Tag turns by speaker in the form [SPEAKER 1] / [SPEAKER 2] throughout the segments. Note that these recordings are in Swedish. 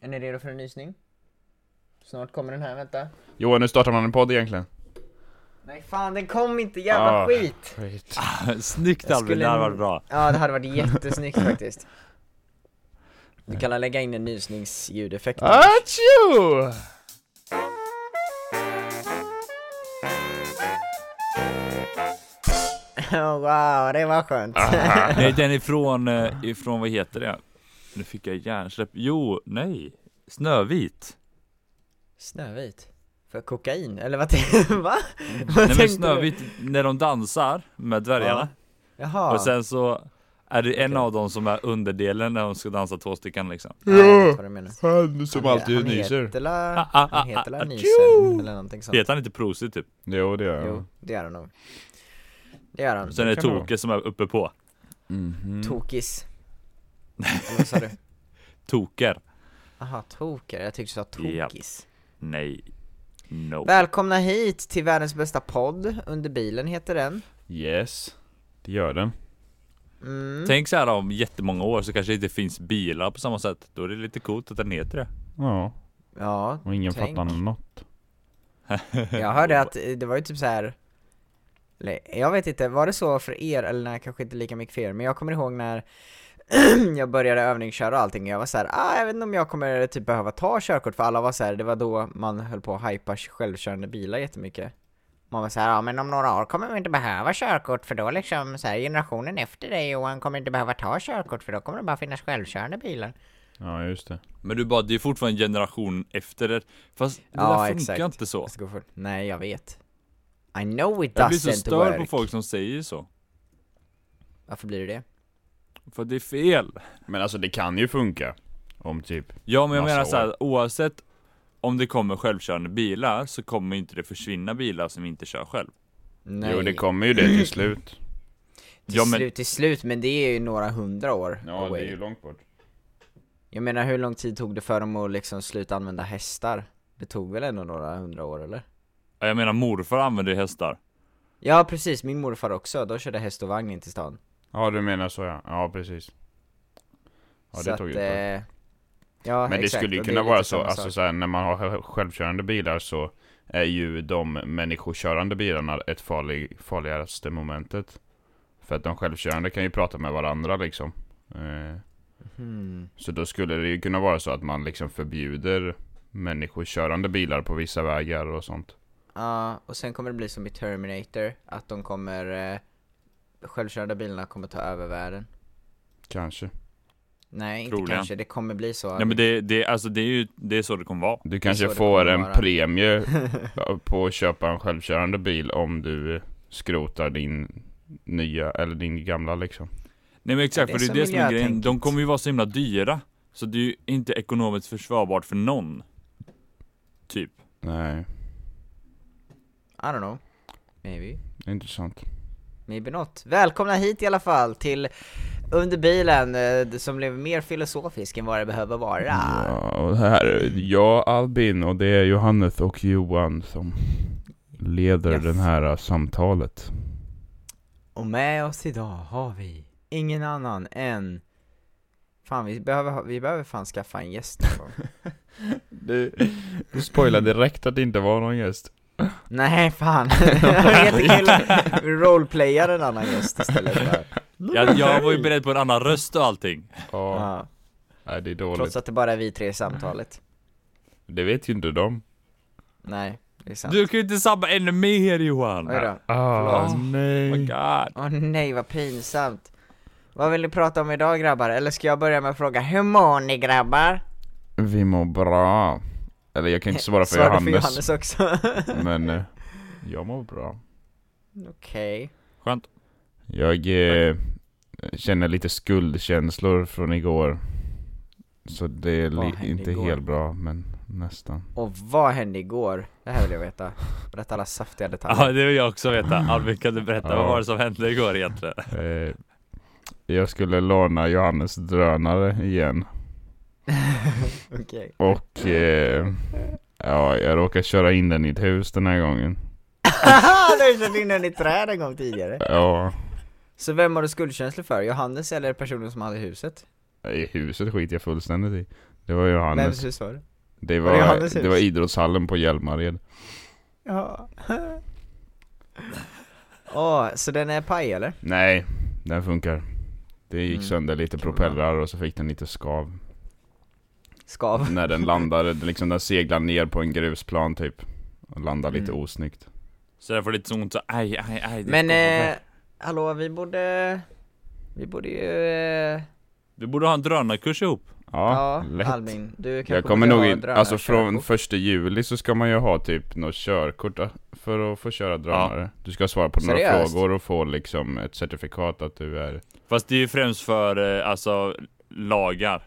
[SPEAKER 1] Är ni redo för en nysning? Snart kommer den här, vänta.
[SPEAKER 2] Johan, nu startar man en podd egentligen.
[SPEAKER 1] Nej fan, den kom inte, jävla
[SPEAKER 2] Ah.
[SPEAKER 1] skit!
[SPEAKER 2] Skit.
[SPEAKER 3] Snyggt
[SPEAKER 1] Jag
[SPEAKER 3] Albin,
[SPEAKER 1] skulle-
[SPEAKER 3] det här var bra.
[SPEAKER 1] Ja, det hade varit jättesnyggt faktiskt. Du kan lägga in en nysningsljudeffekt.
[SPEAKER 3] Ah.
[SPEAKER 2] Achoo!
[SPEAKER 1] Oh, wow, det var skönt.
[SPEAKER 3] Ah. Nej, den ifrån, eh, ifrån vad heter det? Nu fick jag hjärnsläpp. Jo, nej. Snövit.
[SPEAKER 1] Snövit? För kokain? Eller vad tänkte Va? Mm. Vad
[SPEAKER 3] Nej men
[SPEAKER 1] tänkte du?
[SPEAKER 3] Snövit, när de dansar med dvärgarna.
[SPEAKER 1] Jaha.
[SPEAKER 3] Och sen så är det en av dem som är underdelen när de ska dansa två stycken liksom.
[SPEAKER 1] Ja, jag vet vad du menar.
[SPEAKER 2] Han som
[SPEAKER 1] Han-
[SPEAKER 2] alltid
[SPEAKER 1] han eh,
[SPEAKER 2] nyser.
[SPEAKER 1] Heter la,
[SPEAKER 3] Ah, ah,
[SPEAKER 1] han heter
[SPEAKER 3] ah,
[SPEAKER 1] la
[SPEAKER 3] ah,
[SPEAKER 1] Nyser, eller någonting sånt.
[SPEAKER 3] Heter han inte Prosit typ?
[SPEAKER 2] Jo, det gör
[SPEAKER 1] Jo,
[SPEAKER 2] jag.
[SPEAKER 1] det gör han nog. Det gör han.
[SPEAKER 3] Sen är det
[SPEAKER 2] kan det vara.
[SPEAKER 3] Toke som är uppe på.
[SPEAKER 2] Mhm.
[SPEAKER 1] Tokis. Eller vad sa du?
[SPEAKER 3] Toker.
[SPEAKER 1] Aha, toker. Jag tyckte du sa
[SPEAKER 3] Japp.
[SPEAKER 1] tokis.
[SPEAKER 3] Nej. No.
[SPEAKER 1] Välkomna hit till världens bästa podd. Under bilen heter den.
[SPEAKER 2] Yes. Det gör den.
[SPEAKER 1] Mm.
[SPEAKER 3] Tänk så här om jättemånga år så kanske det inte finns bilar på samma sätt. Då är det lite coolt att den heter det.
[SPEAKER 2] Ja,
[SPEAKER 1] Ja,
[SPEAKER 2] och ingen
[SPEAKER 1] Tänk.
[SPEAKER 2] fattar något.
[SPEAKER 1] Jag hörde att eh, det var ju typ så här. Eller, jag vet inte, var det så för er, eller nej kanske inte lika mycket för er, men jag kommer ihåg när jag började övningsköra och allting, jag var så här, ah, jag vet inte om jag kommer typ behöva ta körkort, för alla var så här, det var då man höll på att hypa självkörande bilar jättemycket. Man var så här, ja men om några år kommer vi inte behöva körkort, för då liksom så här, generationen efter dig Johan kommer inte behöva ta körkort, för då kommer det bara finnas självkörande bilar.
[SPEAKER 2] Ja, just det.
[SPEAKER 3] Men du bara, det är fortfarande en generation efter det. Fast det
[SPEAKER 1] Ja,
[SPEAKER 3] där funkar
[SPEAKER 1] exakt.
[SPEAKER 3] inte så.
[SPEAKER 1] Jag ska gå fort. Nej, jag vet. I know it
[SPEAKER 3] Jag blir
[SPEAKER 1] doesn't
[SPEAKER 3] så störd
[SPEAKER 1] work.
[SPEAKER 3] på folk som säger så.
[SPEAKER 1] Varför blir du det?
[SPEAKER 3] För det är fel.
[SPEAKER 2] Men alltså det kan ju funka. Om typ.
[SPEAKER 3] Ja men jag
[SPEAKER 1] Alltså,
[SPEAKER 2] Massa
[SPEAKER 3] menar
[SPEAKER 2] år.
[SPEAKER 3] såhär, oavsett om det kommer självkörande bilar så kommer inte det försvinna bilar som inte kör själv.
[SPEAKER 1] Nej.
[SPEAKER 2] Jo, det kommer ju det till slut.
[SPEAKER 1] Till
[SPEAKER 3] Ja, men-
[SPEAKER 1] slut, till slut, men det är ju några hundra år away.
[SPEAKER 2] långt bort.
[SPEAKER 1] Jag menar hur lång tid tog det för dem att liksom sluta använda hästar? Det tog väl ändå några hundra år eller?
[SPEAKER 3] Ja, Jag menar morfar använder ju hästar.
[SPEAKER 1] Ja precis, min morfar också, då körde häst och vagn in till stan
[SPEAKER 2] Ja, du menar så ja. Ja, precis. Ja, det
[SPEAKER 1] att,
[SPEAKER 2] tog ju ett tag.
[SPEAKER 1] eh, Ja
[SPEAKER 2] Men det
[SPEAKER 1] exakt,
[SPEAKER 2] skulle ju
[SPEAKER 1] och
[SPEAKER 2] kunna
[SPEAKER 1] är
[SPEAKER 2] vara
[SPEAKER 1] lite
[SPEAKER 2] så,
[SPEAKER 1] samma
[SPEAKER 2] alltså
[SPEAKER 1] sak.
[SPEAKER 2] så här, när man har själv- självkörande bilar så är ju de människokörande bilarna ett farlig, farligaste momentet. För att de självkörande kan ju prata med varandra liksom. Eh,
[SPEAKER 1] Hmm.
[SPEAKER 2] Så då skulle det ju kunna vara så att man liksom förbjuder människokörande bilar på vissa vägar och sånt.
[SPEAKER 1] Ja, och sen kommer det bli som i Terminator, att de kommer, eh, självkörande bilarna kommer ta över världen
[SPEAKER 2] Kanske.
[SPEAKER 1] Nej inte
[SPEAKER 3] Troligen.
[SPEAKER 1] kanske, det kommer bli så
[SPEAKER 3] Nej men det, det, alltså, det är ju det är så det kommer vara.
[SPEAKER 2] Du kanske
[SPEAKER 1] så det
[SPEAKER 2] får
[SPEAKER 1] kommer
[SPEAKER 2] en
[SPEAKER 1] vara.
[SPEAKER 2] premie på att köpa en självkörande bil om du skrotar din nya, eller din gamla liksom.
[SPEAKER 3] Nej men exakt,
[SPEAKER 1] Ja, det är
[SPEAKER 3] för
[SPEAKER 1] så
[SPEAKER 3] det är det som är grejen.
[SPEAKER 1] miljötänket.
[SPEAKER 3] De kommer ju vara så himla dyra. Så det är ju inte ekonomiskt försvarbart för någon. Typ.
[SPEAKER 2] Nej,
[SPEAKER 1] I don't know, maybe
[SPEAKER 2] intressant.
[SPEAKER 1] Maybe not. Välkomna hit i alla fall till Under bilen, eh, det som blev mer filosofisk än vad det behöver vara.
[SPEAKER 2] Ja, och här är jag Albin och det är Johannes och Johan som leder
[SPEAKER 1] Yes.
[SPEAKER 2] den här eh, samtalet.
[SPEAKER 1] Och med oss idag har vi ingen annan än Fan vi behöver, ha- vi behöver fan skaffa en gäst någon gång.
[SPEAKER 2] Du, du spoilade direkt att det inte var någon gäst.
[SPEAKER 1] Nej fan, jättekul! Vi roleplayar en annan gäst istället för.
[SPEAKER 3] Jag, jag var ju beredd på en annan röst och allting.
[SPEAKER 2] Ja,
[SPEAKER 1] Ja,
[SPEAKER 2] nej, det är dåligt.
[SPEAKER 1] trots att det bara är vi tre i samtalet.
[SPEAKER 2] Det vet ju inte de.
[SPEAKER 1] Nej, det är sant.
[SPEAKER 3] Du kan ju inte sabba ännu mer Johan!
[SPEAKER 1] Oj då.
[SPEAKER 2] Ah,
[SPEAKER 3] Förlåt. Oh my
[SPEAKER 2] nej.
[SPEAKER 3] god.
[SPEAKER 1] Åh nej vad pinsamt. Vad vill ni prata om idag grabbar? Eller ska jag börja med att fråga, hur mår ni grabbar?
[SPEAKER 2] Vi mår bra. Eller jag kan inte svara för
[SPEAKER 1] Svarar du
[SPEAKER 2] Johannes,
[SPEAKER 1] för Johannes också?
[SPEAKER 2] men eh, jag mår bra.
[SPEAKER 1] Okej.
[SPEAKER 3] Skönt.
[SPEAKER 2] Jag eh, känner lite skuldkänslor från igår. Så det är
[SPEAKER 1] Vad
[SPEAKER 2] li-
[SPEAKER 1] hände
[SPEAKER 2] inte
[SPEAKER 1] igår?
[SPEAKER 2] helt bra, men nästan.
[SPEAKER 1] Och vad hände igår? Det här vill jag veta. Berätta alla saftiga detaljer.
[SPEAKER 3] Ja det vill jag också veta. Albin kan du berätta,
[SPEAKER 2] Ja.
[SPEAKER 3] vad var det som hände igår egentligen?
[SPEAKER 2] Eh, jag skulle låna Johannes drönare igen.
[SPEAKER 1] Okej.
[SPEAKER 2] Och eh, ja, jag råkade köra in den i ett hus den här gången.
[SPEAKER 1] Haha! Du körde in den i träd en gång tidigare.
[SPEAKER 2] Ja,
[SPEAKER 1] Så vem har du skuldkänslor för? Johannes eller personen som hade huset?
[SPEAKER 2] i huset skiter jag fullständigt i. Det Det var Johannes.
[SPEAKER 1] Vems hus var det?
[SPEAKER 2] Det
[SPEAKER 1] var det
[SPEAKER 2] var,
[SPEAKER 1] Johannes hus?
[SPEAKER 2] det var idrottshallen på Hjälmared.
[SPEAKER 1] Ja. Åh, så den är paj eller?
[SPEAKER 2] Nej, den funkar. Det gick
[SPEAKER 3] Mm.
[SPEAKER 2] sönder lite
[SPEAKER 3] Tror jag.
[SPEAKER 2] propellrar och så fick den lite skav.
[SPEAKER 1] Skav.
[SPEAKER 2] När den landade, det liksom den seglade ner på en grusplan typ. Och landade lite
[SPEAKER 3] Mm.
[SPEAKER 2] osnyggt.
[SPEAKER 3] Så jag får lite så ont så aj, aj, aj. det
[SPEAKER 1] Men,
[SPEAKER 3] kommer-
[SPEAKER 1] eh, hallå vi borde... Vi borde ju... Eh,
[SPEAKER 3] Vi borde ha en drönarkurs ihop.
[SPEAKER 1] ja,
[SPEAKER 2] Ja, lätt.
[SPEAKER 1] Albin. Du kanske
[SPEAKER 2] Jag kommer
[SPEAKER 1] borde
[SPEAKER 2] nog
[SPEAKER 1] ha
[SPEAKER 2] in, alltså från
[SPEAKER 1] drönarkörkort.
[SPEAKER 2] första juli så ska man ju ha typ något körkort eh, för att få köra drönare. Du ska svara på några
[SPEAKER 1] Seriöst?
[SPEAKER 2] frågor och få liksom ett certifikat att du är...
[SPEAKER 3] Fast det är ju främst för eh, alltså lagar.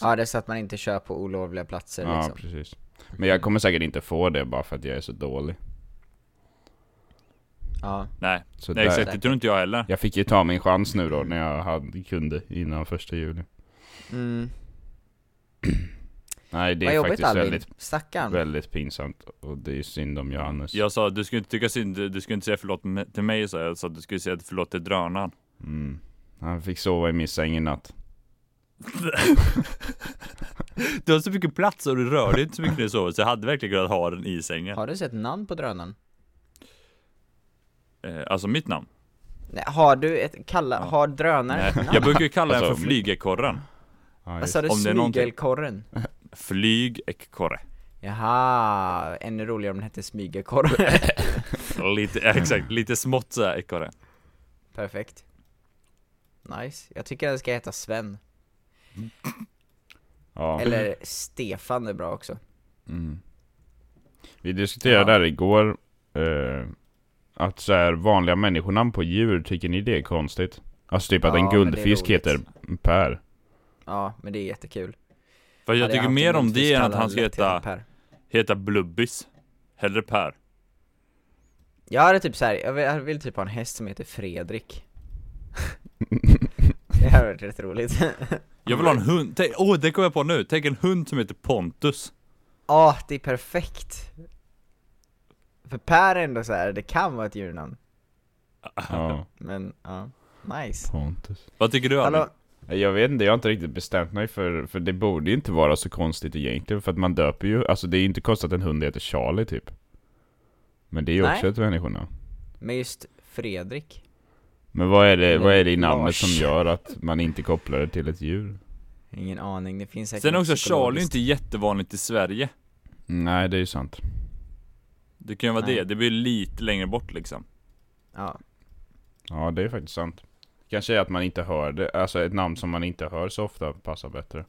[SPEAKER 1] Ja, det är så att man inte kör på olovliga platser
[SPEAKER 2] ja,
[SPEAKER 1] liksom.
[SPEAKER 2] precis. Men jag kommer säkert inte få det bara för att jag är så dålig.
[SPEAKER 1] Ja.
[SPEAKER 3] Nej,
[SPEAKER 2] Så
[SPEAKER 3] nej
[SPEAKER 2] där-
[SPEAKER 3] exakt. Det tror inte jag heller.
[SPEAKER 2] Jag fick ju ta min chans nu då när jag hade, kunde innan första juli.
[SPEAKER 1] Mm.
[SPEAKER 2] Nej det
[SPEAKER 1] Vad
[SPEAKER 2] är
[SPEAKER 1] jobbigt
[SPEAKER 2] faktiskt
[SPEAKER 1] Albin.
[SPEAKER 2] väldigt,
[SPEAKER 1] Stackarn.
[SPEAKER 2] väldigt pinsamt och det är synd om Johannes.
[SPEAKER 3] Jag sa du skulle inte tycka synd, du du skulle inte säga förlåt me- till mig sa jag, jag sa att du skulle säga förlåt till drönaren.
[SPEAKER 2] Mm. Han fick sova i min säng i natt.
[SPEAKER 3] Du har så mycket plats och du rör dig inte så mycket när du sover så jag hade verkligen kunnat ha den i sängen.
[SPEAKER 1] Har du sett namn på drönaren?
[SPEAKER 3] Eh, alltså mitt namn.
[SPEAKER 1] Nej, har du ett kalla...
[SPEAKER 3] Ja.
[SPEAKER 1] Har drönaren
[SPEAKER 3] Nej,
[SPEAKER 1] ett namn?
[SPEAKER 3] jag brukar ju kalla den för
[SPEAKER 2] Alltså,
[SPEAKER 3] flygekorren.
[SPEAKER 2] Ja,
[SPEAKER 1] Vad
[SPEAKER 2] just-
[SPEAKER 1] sa du?
[SPEAKER 3] om det är någonting-
[SPEAKER 1] Smygelkorren?
[SPEAKER 3] Flygekorre.
[SPEAKER 1] Jaha, ännu roligare om den hette Smygelkorren.
[SPEAKER 3] Lite,
[SPEAKER 1] Mm.
[SPEAKER 3] exakt, lite smått såhär ekorre.
[SPEAKER 1] Perfekt. Nice. Jag tycker den ska heta Sven.
[SPEAKER 2] ja.
[SPEAKER 1] Eller Stefan är bra också.
[SPEAKER 2] Mm. Vi diskuterade där igår, eh, att så här, vanliga människonamn på djur, tycker ni det är konstigt? Alltså typ att
[SPEAKER 1] Ja,
[SPEAKER 2] en
[SPEAKER 1] men det är
[SPEAKER 2] guldfisk
[SPEAKER 1] roligt.
[SPEAKER 2] heter Per.
[SPEAKER 1] Ja, men det är jättekul.
[SPEAKER 3] För jag
[SPEAKER 1] Hade
[SPEAKER 3] tycker
[SPEAKER 1] haft
[SPEAKER 3] mer
[SPEAKER 1] en
[SPEAKER 3] om det än att
[SPEAKER 1] kallad
[SPEAKER 3] han ska
[SPEAKER 1] lätt till
[SPEAKER 3] heta,
[SPEAKER 1] Per.
[SPEAKER 3] heta Blubbis. Hellre Per.
[SPEAKER 1] Jag hade typ såhär, jag vill, jag vill typ ha en häst som heter Fredrik. det hade varit rätt roligt.
[SPEAKER 3] Jag vill ha en hund, tänk, åh det kom jag på nu, tänk en hund som heter Pontus
[SPEAKER 1] Ja, det är perfekt! För Per är ändå så här, det kan vara ett djurnamn,
[SPEAKER 2] Ja,
[SPEAKER 1] men ja, nice.
[SPEAKER 2] Pontus.
[SPEAKER 3] Vad tycker du Albin?
[SPEAKER 1] Hallå,
[SPEAKER 2] Jag vet inte, jag har inte riktigt bestämt mig för, för det borde ju inte vara så konstigt egentligen, för att man döper ju, alltså det är ju inte konstigt att en hund heter Charlie typ. Men det är ju också
[SPEAKER 1] Nej.
[SPEAKER 2] ett människonamn.
[SPEAKER 1] men just Fredrik?
[SPEAKER 2] Men vad är det, vad är det i
[SPEAKER 1] Lars.
[SPEAKER 2] namnet som gör att man inte kopplar det till ett djur?
[SPEAKER 1] Ingen aning, det finns säkert
[SPEAKER 3] Sen är
[SPEAKER 1] något
[SPEAKER 3] också Charlie
[SPEAKER 1] psykologiskt.
[SPEAKER 3] inte jättevanligt i Sverige
[SPEAKER 2] Nej, det är ju sant.
[SPEAKER 3] Det kan ju vara
[SPEAKER 1] Nej.
[SPEAKER 3] det, det blir lite längre bort liksom
[SPEAKER 1] Ja,
[SPEAKER 2] Ja, det är faktiskt sant. Kanske är att man inte hör det, alltså ett namn som man inte hör så ofta passar bättre.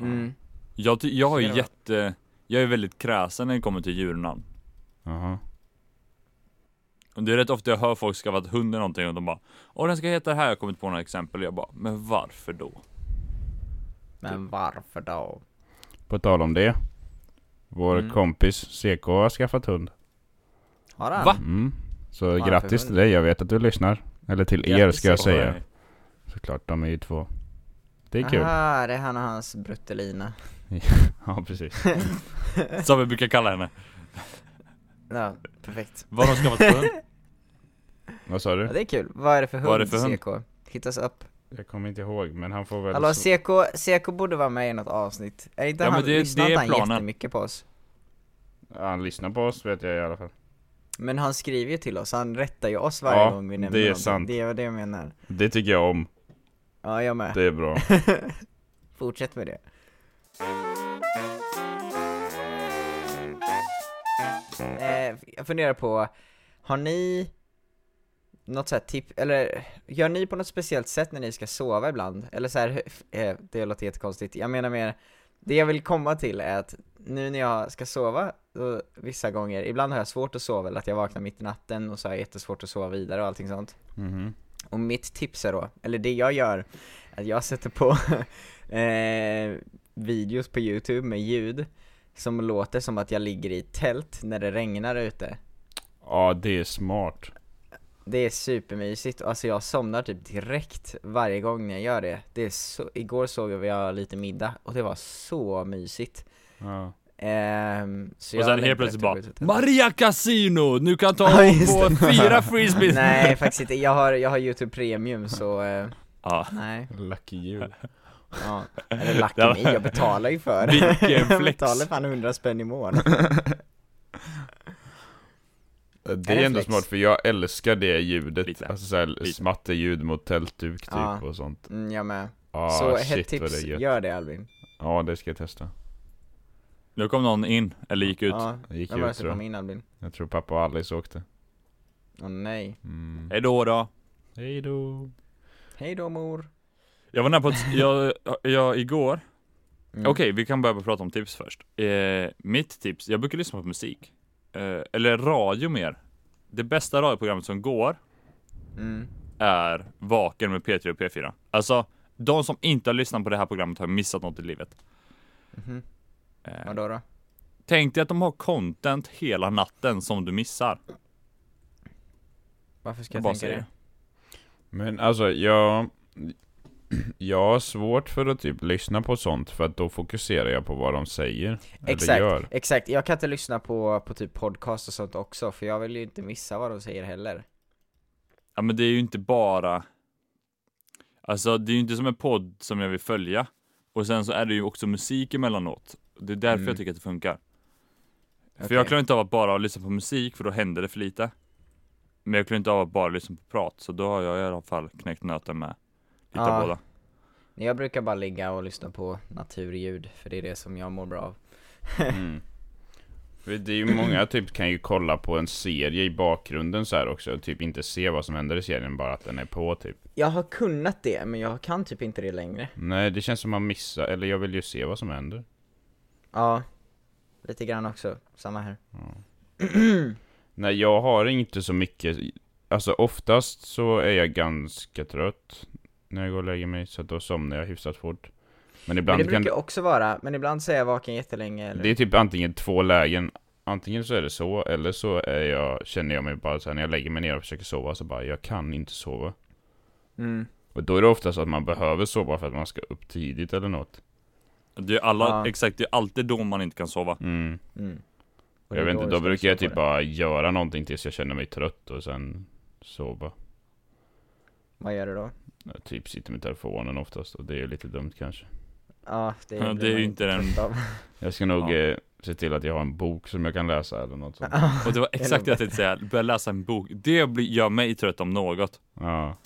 [SPEAKER 1] mm.
[SPEAKER 3] Jag, ty- jag
[SPEAKER 1] Ser
[SPEAKER 3] är
[SPEAKER 1] du?
[SPEAKER 3] jätte, jag är väldigt kräsen när det kommer till djurnamn
[SPEAKER 2] Jaha.
[SPEAKER 3] Och Det är rätt ofta jag hör folk skaffa ett hund eller någonting och de bara Åh den ska heta det här, jag har kommit på några exempel och jag bara Men varför då?
[SPEAKER 1] men varför då?
[SPEAKER 2] På tal om det. Vår
[SPEAKER 3] Mm.
[SPEAKER 2] kompis CK har skaffat hund.
[SPEAKER 1] Har han?
[SPEAKER 3] Va?
[SPEAKER 2] Mm. Så
[SPEAKER 1] Fan,
[SPEAKER 2] grattis
[SPEAKER 1] för
[SPEAKER 2] till dig, jag vet att du lyssnar. Eller till er
[SPEAKER 3] Grattis,
[SPEAKER 2] ska jag
[SPEAKER 3] CK.
[SPEAKER 2] säga. Såklart, de är ju två. Det är kul.
[SPEAKER 1] Aha, det är han och hans bruttelina.
[SPEAKER 2] Ja, precis.
[SPEAKER 3] Som vi brukar kalla henne
[SPEAKER 1] Ja, perfekt.
[SPEAKER 3] Vad har de skaffat för hund?
[SPEAKER 2] Vad sa
[SPEAKER 1] Ja,
[SPEAKER 2] du?
[SPEAKER 1] det är kul. Vad är det för hund,
[SPEAKER 3] Vad är det för hund?
[SPEAKER 1] CK? Hittas upp.
[SPEAKER 2] Jag kommer inte ihåg, men han får väl...
[SPEAKER 1] Hallå,
[SPEAKER 2] så-
[SPEAKER 1] CK, CK borde vara med i något avsnitt. Är inte
[SPEAKER 3] Ja,
[SPEAKER 1] han,
[SPEAKER 3] men det-
[SPEAKER 1] lyssnar
[SPEAKER 3] det är
[SPEAKER 1] inte han
[SPEAKER 3] planen.
[SPEAKER 1] jättemycket på oss?
[SPEAKER 2] Han lyssnar på oss, vet jag i alla fall.
[SPEAKER 1] Men han skriver ju till oss, han rättar ju oss varje
[SPEAKER 2] Ja,
[SPEAKER 1] gång vi
[SPEAKER 2] det
[SPEAKER 1] nämner
[SPEAKER 2] är
[SPEAKER 1] någonting.
[SPEAKER 2] sant.
[SPEAKER 1] Det är det jag menar.
[SPEAKER 2] Det tycker jag om.
[SPEAKER 1] Ja, jag med.
[SPEAKER 2] Det är bra.
[SPEAKER 1] Fortsätt med det. Eh, jag funderar på, har ni något såhär tips, eller gör ni på något speciellt sätt när ni ska sova ibland? Eller såhär, eh, det låter jättekonstigt, jag menar mer, det jag vill komma till är att nu när jag ska sova, då, vissa gånger, ibland har jag svårt att sova eller att jag vaknar mitt i natten och så har jag jättesvårt att sova vidare och allting sånt.
[SPEAKER 2] Mhm.
[SPEAKER 1] Och mitt tips är då, eller det jag gör, att jag sätter på eh, videos på youtube med ljud som låter som att jag ligger i ett tält när det regnar ute.
[SPEAKER 2] Ja, det är smart.
[SPEAKER 1] Det är supermysigt, alltså jag somnar typ direkt varje gång när jag gör det. det är så, igår såg jag, vi har lite middag och det var så mysigt.
[SPEAKER 2] Ja.
[SPEAKER 1] Ehm, så
[SPEAKER 3] Och
[SPEAKER 1] jag
[SPEAKER 3] sen
[SPEAKER 1] längtar
[SPEAKER 3] helt plötsligt
[SPEAKER 1] efter att
[SPEAKER 3] bara
[SPEAKER 1] gå ut och tält.
[SPEAKER 3] Maria Casino! Nu kan ta
[SPEAKER 1] Ja, just
[SPEAKER 3] på fyra frisbees!
[SPEAKER 1] Nej faktiskt inte, jag har, jag har youtube premium så, eh,
[SPEAKER 3] Ja,
[SPEAKER 1] nej.
[SPEAKER 2] Lucky you.
[SPEAKER 1] Ja. Eller lacken i, jag betalar ju för det.
[SPEAKER 3] Vilken
[SPEAKER 1] Jag
[SPEAKER 3] flex.
[SPEAKER 1] betalar fan 100 spänn i månaden.
[SPEAKER 2] Det
[SPEAKER 1] Är det
[SPEAKER 2] är ändå
[SPEAKER 1] flex?
[SPEAKER 2] smart för jag älskar det ljudet,
[SPEAKER 3] Lite.
[SPEAKER 2] alltså såhär
[SPEAKER 3] Lite.
[SPEAKER 2] smatterljud mot tältduk typ
[SPEAKER 1] Ja.
[SPEAKER 2] och sånt.
[SPEAKER 1] Mm, jag med.
[SPEAKER 2] Ah,
[SPEAKER 1] Så
[SPEAKER 2] shit,
[SPEAKER 1] hett
[SPEAKER 2] vad
[SPEAKER 1] tips,
[SPEAKER 2] det är gött.
[SPEAKER 1] gör det Albin.
[SPEAKER 2] Ja det ska jag testa.
[SPEAKER 3] Nu kom någon in, eller gick ut.
[SPEAKER 1] Ja,
[SPEAKER 2] Jag gick
[SPEAKER 1] vem var det
[SPEAKER 2] ut
[SPEAKER 1] som
[SPEAKER 2] tror
[SPEAKER 1] kom
[SPEAKER 2] jag.
[SPEAKER 1] in Albin?
[SPEAKER 2] Jag tror pappa och Alice åkte.
[SPEAKER 1] Åh nej.
[SPEAKER 2] Mm.
[SPEAKER 3] Hej då då.
[SPEAKER 2] Hej då.
[SPEAKER 1] Hej då mor.
[SPEAKER 3] Jag var nära på att, jag, jag igår,
[SPEAKER 1] Mm.
[SPEAKER 3] okej vi kan börja prata om tips först. Eh, mitt tips, jag brukar lyssna på musik. Eh, eller radio mer. Det bästa radioprogrammet som går
[SPEAKER 1] Mm.
[SPEAKER 3] är Vaken med P3 och P4. Alltså, de som inte har lyssnat på det här programmet har missat något i livet.
[SPEAKER 1] Mhm.
[SPEAKER 3] Eh,
[SPEAKER 1] Vadå då?
[SPEAKER 3] tänk dig att de har content hela natten som du missar.
[SPEAKER 1] Varför ska jag,
[SPEAKER 3] bara
[SPEAKER 1] tänka
[SPEAKER 3] säger
[SPEAKER 1] det?
[SPEAKER 2] Men alltså jag... Jag har svårt för att typ lyssna på sånt för att då fokuserar jag på vad de säger. Eller
[SPEAKER 1] Exakt,
[SPEAKER 2] gör.
[SPEAKER 1] exakt. Jag kan inte lyssna på, på typ podcast och sånt också, för jag vill ju inte missa vad de säger heller.
[SPEAKER 3] Ja men det är ju inte bara Alltså det är ju inte som en podd som jag vill följa Och sen så är det ju också musik emellanåt Det är därför
[SPEAKER 1] Mm.
[SPEAKER 3] jag tycker att det funkar För
[SPEAKER 1] Okej.
[SPEAKER 3] jag klarar inte av att bara lyssna på musik för då händer det för lite Men jag klarar inte av att bara lyssna på prat så då har jag i alla fall knäckt nöten med Lite
[SPEAKER 1] Ja.
[SPEAKER 3] av båda
[SPEAKER 1] Jag brukar bara ligga och lyssna på naturljud, för det är det som jag mår bra av.
[SPEAKER 2] Mm. För det är ju många typ kan ju kolla på en serie i bakgrunden så här också och typ inte se vad som händer i serien bara att den är på typ.
[SPEAKER 1] Jag har kunnat det, men jag kan typ inte det längre.
[SPEAKER 2] Nej det känns som man missar, eller jag vill ju se vad som händer.
[SPEAKER 1] Ja, lite grann också. Samma här.
[SPEAKER 2] Nej jag har inte så mycket, alltså oftast så är jag ganska trött när jag går och lägger mig så att då somnar jag hyfsat fort. Men
[SPEAKER 1] Men
[SPEAKER 2] ibland
[SPEAKER 1] det
[SPEAKER 2] kan
[SPEAKER 1] brukar också vara, men ibland så är jag vaken jättelänge eller...
[SPEAKER 2] Det är typ antingen två lägen Antingen så är det så, eller så är jag, känner jag mig bara såhär när jag lägger mig ner och försöker sova så bara jag kan inte sova
[SPEAKER 1] Mm.
[SPEAKER 2] Och då är det ofta så att man behöver sova för att man ska upp tidigt eller något
[SPEAKER 3] Det är alla,
[SPEAKER 1] Ja.
[SPEAKER 3] exakt det är alltid då man inte kan sova
[SPEAKER 2] mm.
[SPEAKER 1] Mm. Och det
[SPEAKER 2] Jag
[SPEAKER 1] är
[SPEAKER 2] vet inte,
[SPEAKER 1] vi
[SPEAKER 2] då
[SPEAKER 1] ska
[SPEAKER 2] brukar jag
[SPEAKER 1] lyssna
[SPEAKER 2] typ
[SPEAKER 1] på
[SPEAKER 2] bara göra någonting tills jag känner mig trött och sen sova
[SPEAKER 1] det. Vad gör du då?
[SPEAKER 2] jag Typ sitter med telefonen oftast och det är ju lite dumt kanske
[SPEAKER 1] Ja, det, blir
[SPEAKER 3] Ja, det är
[SPEAKER 1] man
[SPEAKER 3] ju inte den-
[SPEAKER 1] trött av.
[SPEAKER 2] Jag ska nog
[SPEAKER 3] Ja.
[SPEAKER 2] eh, se till att jag har en bok som jag kan läsa eller något sånt
[SPEAKER 3] Och det var exakt
[SPEAKER 1] Eller-
[SPEAKER 3] det jag tänkte säga, börja läsa en bok Det blir- gör mig trött om något
[SPEAKER 2] Ja,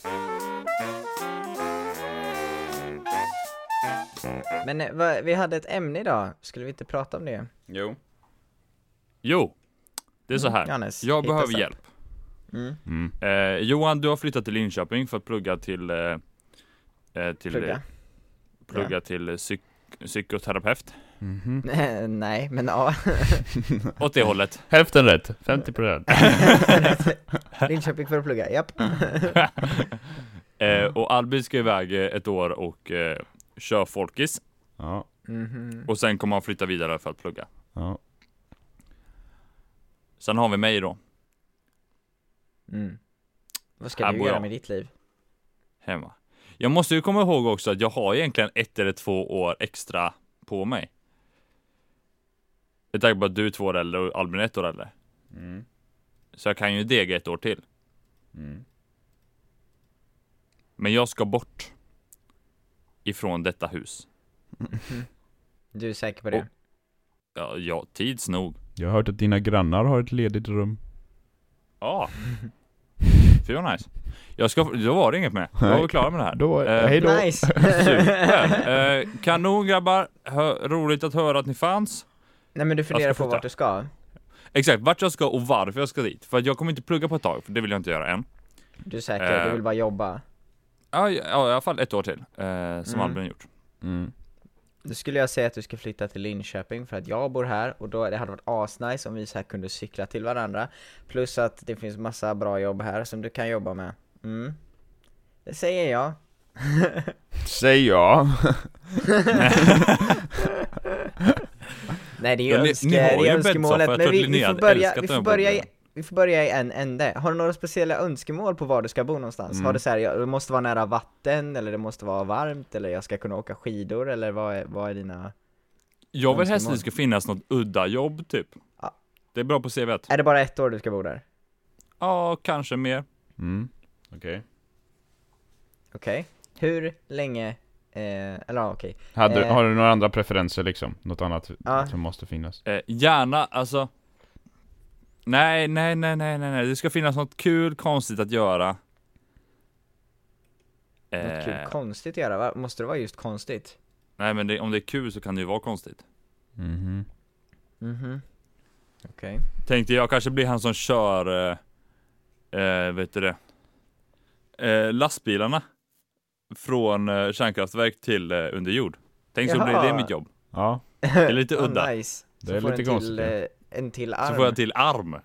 [SPEAKER 1] Men eh, vad- vi hade ett ämne idag, skulle vi inte prata om det?
[SPEAKER 2] jo
[SPEAKER 3] Jo! Det är
[SPEAKER 1] Mm.
[SPEAKER 3] så här
[SPEAKER 1] Johannes,
[SPEAKER 3] Jag
[SPEAKER 1] hit
[SPEAKER 3] behöver
[SPEAKER 1] us up.
[SPEAKER 3] hjälp
[SPEAKER 1] Mm.
[SPEAKER 2] mm.
[SPEAKER 3] Eh, Johan, du har flyttat till Linköping för att plugga till, eh, eh, till, eh,
[SPEAKER 1] Plugga?
[SPEAKER 3] plugga till eh, psyk psykoterapeut.
[SPEAKER 2] Mhm.
[SPEAKER 1] Nej, men ja.
[SPEAKER 3] Åt det hållet.
[SPEAKER 2] Hälften rätt, 50%
[SPEAKER 1] Linköping för att plugga, japp.
[SPEAKER 3] Mm. eh, och Albin ska iväg eh, ett år och eh, köra folkis.
[SPEAKER 2] Ja,
[SPEAKER 1] Mhm.
[SPEAKER 3] Och sen kommer han flytta vidare för att plugga.
[SPEAKER 2] ja
[SPEAKER 3] Sen har vi mig då.
[SPEAKER 1] Mm. Vad ska
[SPEAKER 3] Här
[SPEAKER 1] du
[SPEAKER 3] bor
[SPEAKER 1] göra
[SPEAKER 3] jag.
[SPEAKER 1] med ditt liv?
[SPEAKER 3] Hemma. Jag måste ju komma ihåg också att jag har egentligen ett eller två år extra på mig. Med tanke på att du är två år äldre och Albin är ett år äldre.
[SPEAKER 2] mm.
[SPEAKER 3] Så jag kan ju dega ett år till.
[SPEAKER 2] Mm.
[SPEAKER 3] Men jag ska bort. Ifrån detta hus.
[SPEAKER 1] Du är säker på det?
[SPEAKER 3] Och- Ja, ja tids nog.
[SPEAKER 2] Jag har hört att dina grannar har ett ledigt rum.
[SPEAKER 3] Ja. Fy vad nice. Jag ska, då var det inget mer. Då var vi klara med det här.
[SPEAKER 2] Då,
[SPEAKER 3] Eh,
[SPEAKER 2] hej då.
[SPEAKER 1] Nice!
[SPEAKER 3] Super. Eh, kanon grabbar. Hö, roligt att höra att ni fanns.
[SPEAKER 1] Nej men du funderar
[SPEAKER 3] Jag ska
[SPEAKER 1] på vart
[SPEAKER 3] flytta.
[SPEAKER 1] du ska?
[SPEAKER 3] Exakt vart jag ska och varför jag ska dit. För att jag kommer inte plugga på ett tag, för det vill jag inte göra än.
[SPEAKER 1] Du är säker? Du
[SPEAKER 3] Eh.
[SPEAKER 1] vill bara jobba?
[SPEAKER 3] Ja, ja, ja, i alla fall ett år till. Eh,
[SPEAKER 1] Mm.
[SPEAKER 3] som Albin gjort.
[SPEAKER 2] Mm.
[SPEAKER 1] Då skulle jag säga att du ska flytta till Linköping för att jag bor här och då det hade varit asnice om vi så här kunde cykla till varandra Plus att det finns massa bra jobb här som du kan jobba med Mm Det säger jag
[SPEAKER 2] Säg ja.
[SPEAKER 1] Nej det är ju
[SPEAKER 3] Ja, ni-
[SPEAKER 1] önske,
[SPEAKER 3] ni
[SPEAKER 1] det
[SPEAKER 3] har ju
[SPEAKER 1] är
[SPEAKER 3] en
[SPEAKER 1] önskemålet
[SPEAKER 3] bäddsoffa. Jag
[SPEAKER 1] men
[SPEAKER 3] tror
[SPEAKER 1] vi, vi
[SPEAKER 3] att Linnea
[SPEAKER 1] får
[SPEAKER 3] hade
[SPEAKER 1] börja,
[SPEAKER 3] älskat
[SPEAKER 1] vi
[SPEAKER 3] den
[SPEAKER 1] får
[SPEAKER 3] här
[SPEAKER 1] börja i
[SPEAKER 3] podden.
[SPEAKER 1] vi får börja i en ände. Har du några speciella önskemål på var du ska bo någonstans?
[SPEAKER 3] Mm.
[SPEAKER 1] Har du så här, jag, det måste vara nära vatten, eller det måste vara varmt, eller jag ska kunna åka skidor, eller vad är, vad är dina...
[SPEAKER 3] Jag vill helst att
[SPEAKER 1] Önskemål.
[SPEAKER 3] det ska finnas något udda jobb typ.
[SPEAKER 1] Ja.
[SPEAKER 3] Det är bra på CVt.
[SPEAKER 1] Är det bara ett år du ska bo där?
[SPEAKER 3] Ja, kanske mer.
[SPEAKER 2] Mm. Okej.
[SPEAKER 1] Okej. Hur länge Eh, eller ja, okej.
[SPEAKER 2] Hade,
[SPEAKER 1] Eh.
[SPEAKER 2] Har du några andra preferenser liksom? Något annat
[SPEAKER 1] Ja.
[SPEAKER 2] som måste finnas?
[SPEAKER 3] Eh, gärna, alltså. Nej, nej, nej, nej, nej, nej. Det ska finnas något kul, konstigt att göra.
[SPEAKER 1] Något kul
[SPEAKER 3] Eh,
[SPEAKER 1] konstigt att göra, va? Måste det vara just konstigt?
[SPEAKER 3] nej, men det, om det är kul så kan det ju vara konstigt.
[SPEAKER 2] Mhm.
[SPEAKER 1] Mhm. Okej.
[SPEAKER 3] Tänkte jag kanske blir han som kör, eh, eh, vet du det, eh, lastbilarna från eh, kärnkraftverk till eh, under jord. Tänk så blir det
[SPEAKER 1] Jaha.
[SPEAKER 3] mitt jobb.
[SPEAKER 2] Ja,
[SPEAKER 1] Det
[SPEAKER 3] är lite udda.
[SPEAKER 1] Ah, nice.
[SPEAKER 2] Det
[SPEAKER 1] Så
[SPEAKER 2] är
[SPEAKER 1] får
[SPEAKER 2] lite
[SPEAKER 1] en till,
[SPEAKER 2] konstigt, ja.
[SPEAKER 1] eh, En till arm.
[SPEAKER 3] Så får jag till arm.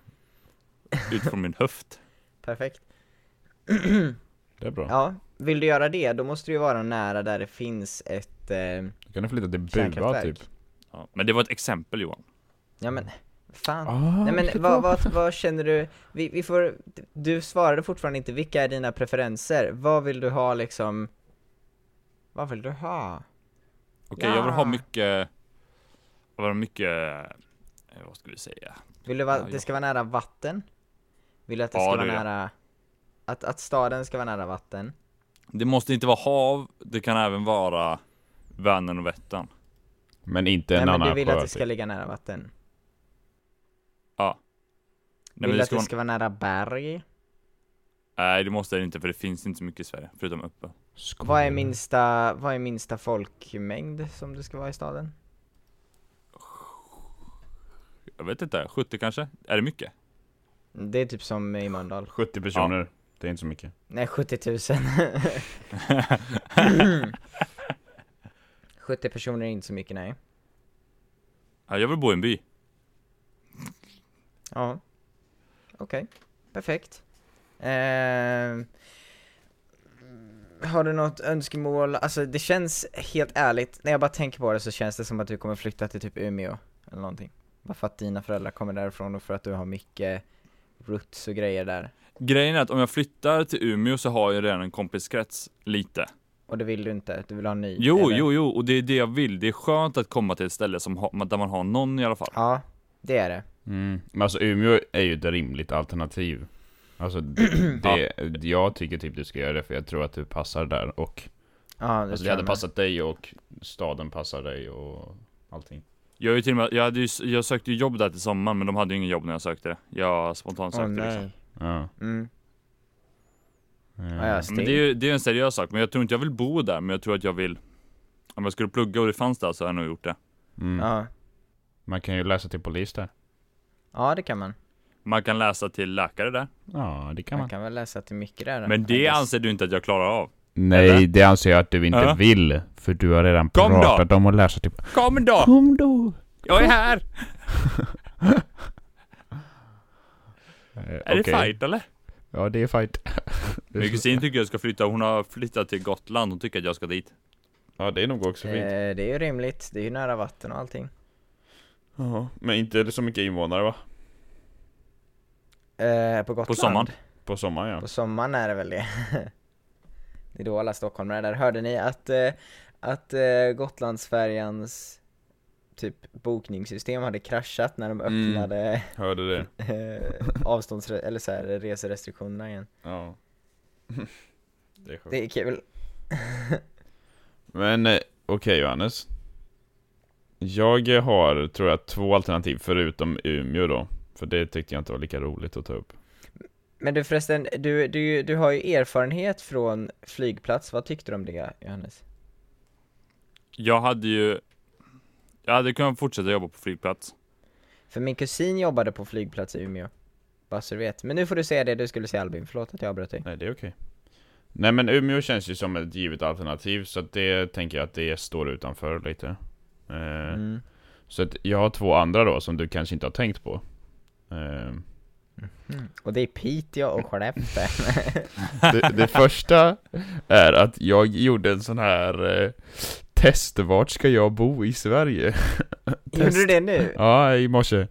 [SPEAKER 3] Utifrån min höft.
[SPEAKER 1] Perfekt.
[SPEAKER 2] det är bra.
[SPEAKER 1] Ja, vill du göra det, då måste du ju vara nära där det finns ett... Eh,
[SPEAKER 2] Då kan du flytta till Bua
[SPEAKER 1] Kärnkraftverk.
[SPEAKER 2] typ.
[SPEAKER 3] Ja. Men det var ett exempel Johan.
[SPEAKER 1] ja men, fan.
[SPEAKER 2] Ah,
[SPEAKER 1] Nej men vad, vad, vad känner du, vi, vi får, du svarade fortfarande inte, vilka är dina preferenser? Vad vill du ha liksom? Vad vill du ha?
[SPEAKER 3] Okej, jag vill ha
[SPEAKER 1] Ja.
[SPEAKER 3] mycket... Jag vill ha mycket... eh, Vad ska vi säga?
[SPEAKER 1] Vill du va,
[SPEAKER 3] Ja,
[SPEAKER 1] att
[SPEAKER 3] ja.
[SPEAKER 1] det ska vara nära vatten? Vill du att det
[SPEAKER 3] Ja,
[SPEAKER 1] ska
[SPEAKER 3] det
[SPEAKER 1] vara
[SPEAKER 3] vill jag.
[SPEAKER 1] nära, att, att staden ska vara nära vatten?
[SPEAKER 3] Det måste inte vara hav, det kan även vara Vänern och Vättern.
[SPEAKER 2] Men inte en
[SPEAKER 1] Nej men
[SPEAKER 2] annan
[SPEAKER 1] du vill
[SPEAKER 2] sjö,
[SPEAKER 1] att det ska
[SPEAKER 2] typ.
[SPEAKER 1] ligga nära vatten?
[SPEAKER 3] Nej,
[SPEAKER 1] vill
[SPEAKER 3] men
[SPEAKER 1] du
[SPEAKER 3] det
[SPEAKER 1] att
[SPEAKER 3] ska
[SPEAKER 1] det
[SPEAKER 3] vara...
[SPEAKER 1] ska vara nära berg?
[SPEAKER 3] Nej, det måste det inte för det finns inte så mycket i Sverige, förutom uppe.
[SPEAKER 1] Vad är minsta, vad är minsta folkmängd som det ska vara i staden?
[SPEAKER 3] Jag vet inte, 70 kanske? Är det mycket?
[SPEAKER 1] Det är typ som i Mölndal.
[SPEAKER 2] 70 personer. Det är inte så mycket.
[SPEAKER 1] Nej 70 000 70 personer är inte så mycket nej.
[SPEAKER 3] Ja, jag vill bo i en by.
[SPEAKER 1] Ja. Okej, perfekt. Ehm, har du något önskemål? Alltså det känns helt ärligt, när jag bara tänker på det så känns det som att du kommer flytta till typ Umeå eller någonting. Bara för att dina föräldrar kommer därifrån och för att du har mycket roots och grejer där.
[SPEAKER 3] Grejen är att om jag flyttar till Umeå så har jag redan en kompiskrets, lite.
[SPEAKER 1] Och det vill du inte, du vill ha en ny?
[SPEAKER 3] Jo,
[SPEAKER 1] eller?
[SPEAKER 3] jo, jo, och det är det jag vill. Det är skönt att komma till ett ställe som har, där man har någon i alla fall.
[SPEAKER 1] Ja, det är det.
[SPEAKER 2] Mm. Men alltså Umeå är ju ett rimligt alternativ. Alltså det, det- jag tycker typ du ska göra det för jag tror att du passar där och
[SPEAKER 1] Ja, det
[SPEAKER 2] Alltså
[SPEAKER 1] tror
[SPEAKER 2] det
[SPEAKER 1] jag
[SPEAKER 2] hade
[SPEAKER 1] med.
[SPEAKER 2] passat dig och staden passar dig och allting.
[SPEAKER 3] Jag, är ju till och med, jag, hade ju, jag sökte ju jobb där till sommaren, men de hade ju ingen jobb när jag sökte det. Jag spontant
[SPEAKER 1] Åh
[SPEAKER 3] sökte det. Liksom.
[SPEAKER 1] nej.
[SPEAKER 2] Ja.
[SPEAKER 1] Mm.
[SPEAKER 2] Mm.
[SPEAKER 1] Ja, ja,
[SPEAKER 3] Men det är ju det är ju en seriös sak, men jag tror inte jag vill bo där, men jag tror att jag vill om jag skulle plugga och det fanns där så hade jag nog gjort det.
[SPEAKER 2] Mm.
[SPEAKER 1] Ja.
[SPEAKER 2] Man kan ju läsa till polis där.
[SPEAKER 1] ja, det kan man.
[SPEAKER 3] Man kan läsa till läkare där.
[SPEAKER 2] Ja, det kan
[SPEAKER 1] man.
[SPEAKER 2] man.
[SPEAKER 1] kan väl läsa till mycket där.
[SPEAKER 3] Men
[SPEAKER 1] I
[SPEAKER 3] det
[SPEAKER 1] guess.
[SPEAKER 3] anser du inte att jag klarar av.
[SPEAKER 2] Nej,
[SPEAKER 3] Eller?
[SPEAKER 2] det anser jag att du inte
[SPEAKER 3] Ja.
[SPEAKER 2] vill. För du har redan
[SPEAKER 3] Kom då!
[SPEAKER 2] pratat om att läsa till...
[SPEAKER 3] Kom då!
[SPEAKER 2] Kom då!
[SPEAKER 3] Jag är här!
[SPEAKER 2] Eh,
[SPEAKER 3] Är
[SPEAKER 2] okej.
[SPEAKER 3] det fight eller?
[SPEAKER 2] Ja, det är fight. Det är
[SPEAKER 3] Min
[SPEAKER 2] så-
[SPEAKER 3] kusin tycker jag ska flytta, hon har flyttat till Gotland, hon tycker att jag ska dit.
[SPEAKER 2] Ja, det är nog också fint.
[SPEAKER 1] Eh, det är ju rimligt, det är ju nära vatten och allting.
[SPEAKER 2] Ja, men inte så mycket invånare va?
[SPEAKER 1] Eh, på Gotland?
[SPEAKER 3] På sommaren.
[SPEAKER 2] På sommaren ja.
[SPEAKER 1] På sommaren är det väl det. det är då alla stockholmare är där. Hörde ni att, eh, att eh, Gotlandsfärjans typ bokningssystem hade kraschat när de
[SPEAKER 2] Mm.
[SPEAKER 1] öppnade
[SPEAKER 2] Hörde det.
[SPEAKER 1] eh, avstånds eller så här, reserestriktionerna igen?
[SPEAKER 2] Ja. Det är sjukt.
[SPEAKER 1] Det är kul.
[SPEAKER 2] Men eh, okej Johannes. Jag eh, har, tror jag, två alternativ förutom Umeå då. För det tyckte jag inte var lika roligt att ta upp.
[SPEAKER 1] Men du förresten, du, du, du har ju erfarenhet från flygplats, vad tyckte du om det Johannes?
[SPEAKER 3] Jag hade ju... Jag hade kunnat fortsätta jobba på flygplats.
[SPEAKER 1] För min kusin jobbade på flygplats i Umeå. Bara så du vet. Men nu får du säga det du skulle säga Albin, förlåt att jag avbröt dig.
[SPEAKER 2] Nej, det är okej. Nej men Umeå känns ju som ett givet alternativ, så att det tänker jag att det står utanför lite. Eh,
[SPEAKER 1] Mm.
[SPEAKER 2] Så att jag har två andra då, som du kanske inte har tänkt på. Eh,
[SPEAKER 1] Mm. Och det är Piteå och Skellefteå.
[SPEAKER 2] Det, det första är att jag gjorde en sån här eh, test, vart ska jag bo i Sverige?
[SPEAKER 1] Gjorde du det nu?
[SPEAKER 2] Ja, i morse.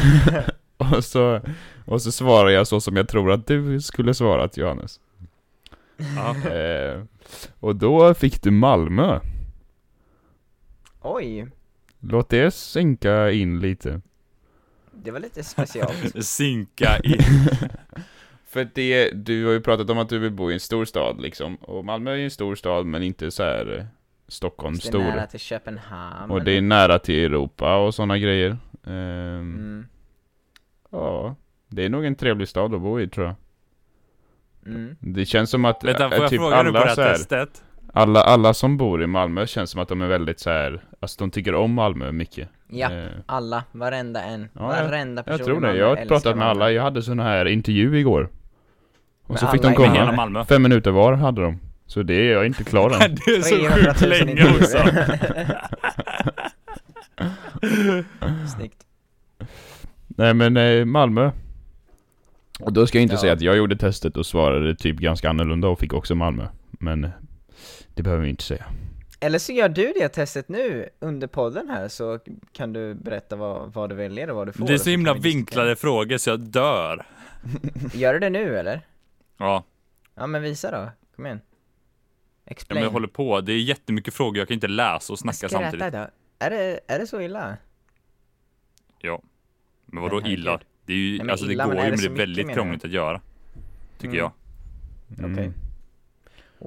[SPEAKER 2] och, så, och så svarar jag så som jag tror att du skulle svarat Johannes.
[SPEAKER 3] Ja.
[SPEAKER 2] Eh, och då fick du Malmö.
[SPEAKER 1] Oj,
[SPEAKER 2] Låt det sänka in lite.
[SPEAKER 1] det var lite speciellt.
[SPEAKER 3] Sinka i...
[SPEAKER 2] För det, du har ju pratat om att du vill bo i en stor stad liksom. Och Malmö är ju en stor stad men inte så här eh, Stockholm
[SPEAKER 1] Det är nära
[SPEAKER 2] stor.
[SPEAKER 1] till Köpenhamn.
[SPEAKER 2] Och det är nära till Europa och sådana grejer. Ehm,
[SPEAKER 1] Mm.
[SPEAKER 2] Ja, det är nog en trevlig stad att bo i tror jag.
[SPEAKER 1] Mm.
[SPEAKER 2] Det känns som att
[SPEAKER 3] Vänta, får
[SPEAKER 2] eh,
[SPEAKER 3] jag
[SPEAKER 2] typ
[SPEAKER 3] fråga nu på
[SPEAKER 2] alla,
[SPEAKER 3] det här
[SPEAKER 2] så här,
[SPEAKER 3] testet?
[SPEAKER 2] alla, alla som bor i Malmö känns som att de är väldigt så här, alltså de tycker om Malmö mycket.
[SPEAKER 1] Ja,
[SPEAKER 2] Eh,
[SPEAKER 1] alla, varenda en.
[SPEAKER 2] Ja,
[SPEAKER 1] varenda person
[SPEAKER 2] jag
[SPEAKER 1] i
[SPEAKER 2] tror det,
[SPEAKER 1] Malmö
[SPEAKER 2] jag har
[SPEAKER 1] älskar
[SPEAKER 2] pratat med
[SPEAKER 1] Malmö.
[SPEAKER 2] alla, jag hade sån här intervju igår. Och
[SPEAKER 1] Med
[SPEAKER 2] så fick
[SPEAKER 1] alla
[SPEAKER 2] de
[SPEAKER 1] i
[SPEAKER 3] Med
[SPEAKER 1] Komma.
[SPEAKER 3] hela
[SPEAKER 2] komma,
[SPEAKER 3] Malmö?
[SPEAKER 2] fem minuter var hade de. Så det är jag inte klar än.
[SPEAKER 3] Det är så
[SPEAKER 1] 300 000
[SPEAKER 3] sjukt länge också!
[SPEAKER 1] intervjuer. Snyggt.
[SPEAKER 2] Nej men eh, Malmö. Och då ska jag inte
[SPEAKER 1] Ja.
[SPEAKER 2] säga att jag gjorde testet och svarade typ ganska annorlunda och fick också Malmö. Men eh, det behöver vi inte säga.
[SPEAKER 1] Eller så gör du det testet nu under podden här så kan du berätta vad, vad du väljer och vad du får.
[SPEAKER 3] Det är
[SPEAKER 1] och
[SPEAKER 3] så himla
[SPEAKER 1] kan vi diskutera.
[SPEAKER 3] vinklade frågor så jag dör.
[SPEAKER 1] Gör du det nu eller?
[SPEAKER 3] Ja,
[SPEAKER 1] Ja men visa då, kom igen.
[SPEAKER 3] ja,
[SPEAKER 1] Explain.
[SPEAKER 3] men jag håller på. Det är jättemycket frågor, jag kan inte läsa och snacka
[SPEAKER 1] Skratta
[SPEAKER 3] samtidigt.
[SPEAKER 1] Då. Är, det, är det så illa?
[SPEAKER 3] Ja. Men vadå
[SPEAKER 1] Men herregud.
[SPEAKER 3] illa? Det är ju,
[SPEAKER 1] men
[SPEAKER 3] alltså det
[SPEAKER 1] illa, men
[SPEAKER 3] går
[SPEAKER 1] är det
[SPEAKER 3] ju men det
[SPEAKER 1] så
[SPEAKER 3] är
[SPEAKER 1] mycket,
[SPEAKER 3] väldigt
[SPEAKER 1] menar
[SPEAKER 3] krångligt att göra. Tycker
[SPEAKER 1] Mm.
[SPEAKER 3] jag.
[SPEAKER 2] Mm.
[SPEAKER 1] Okej.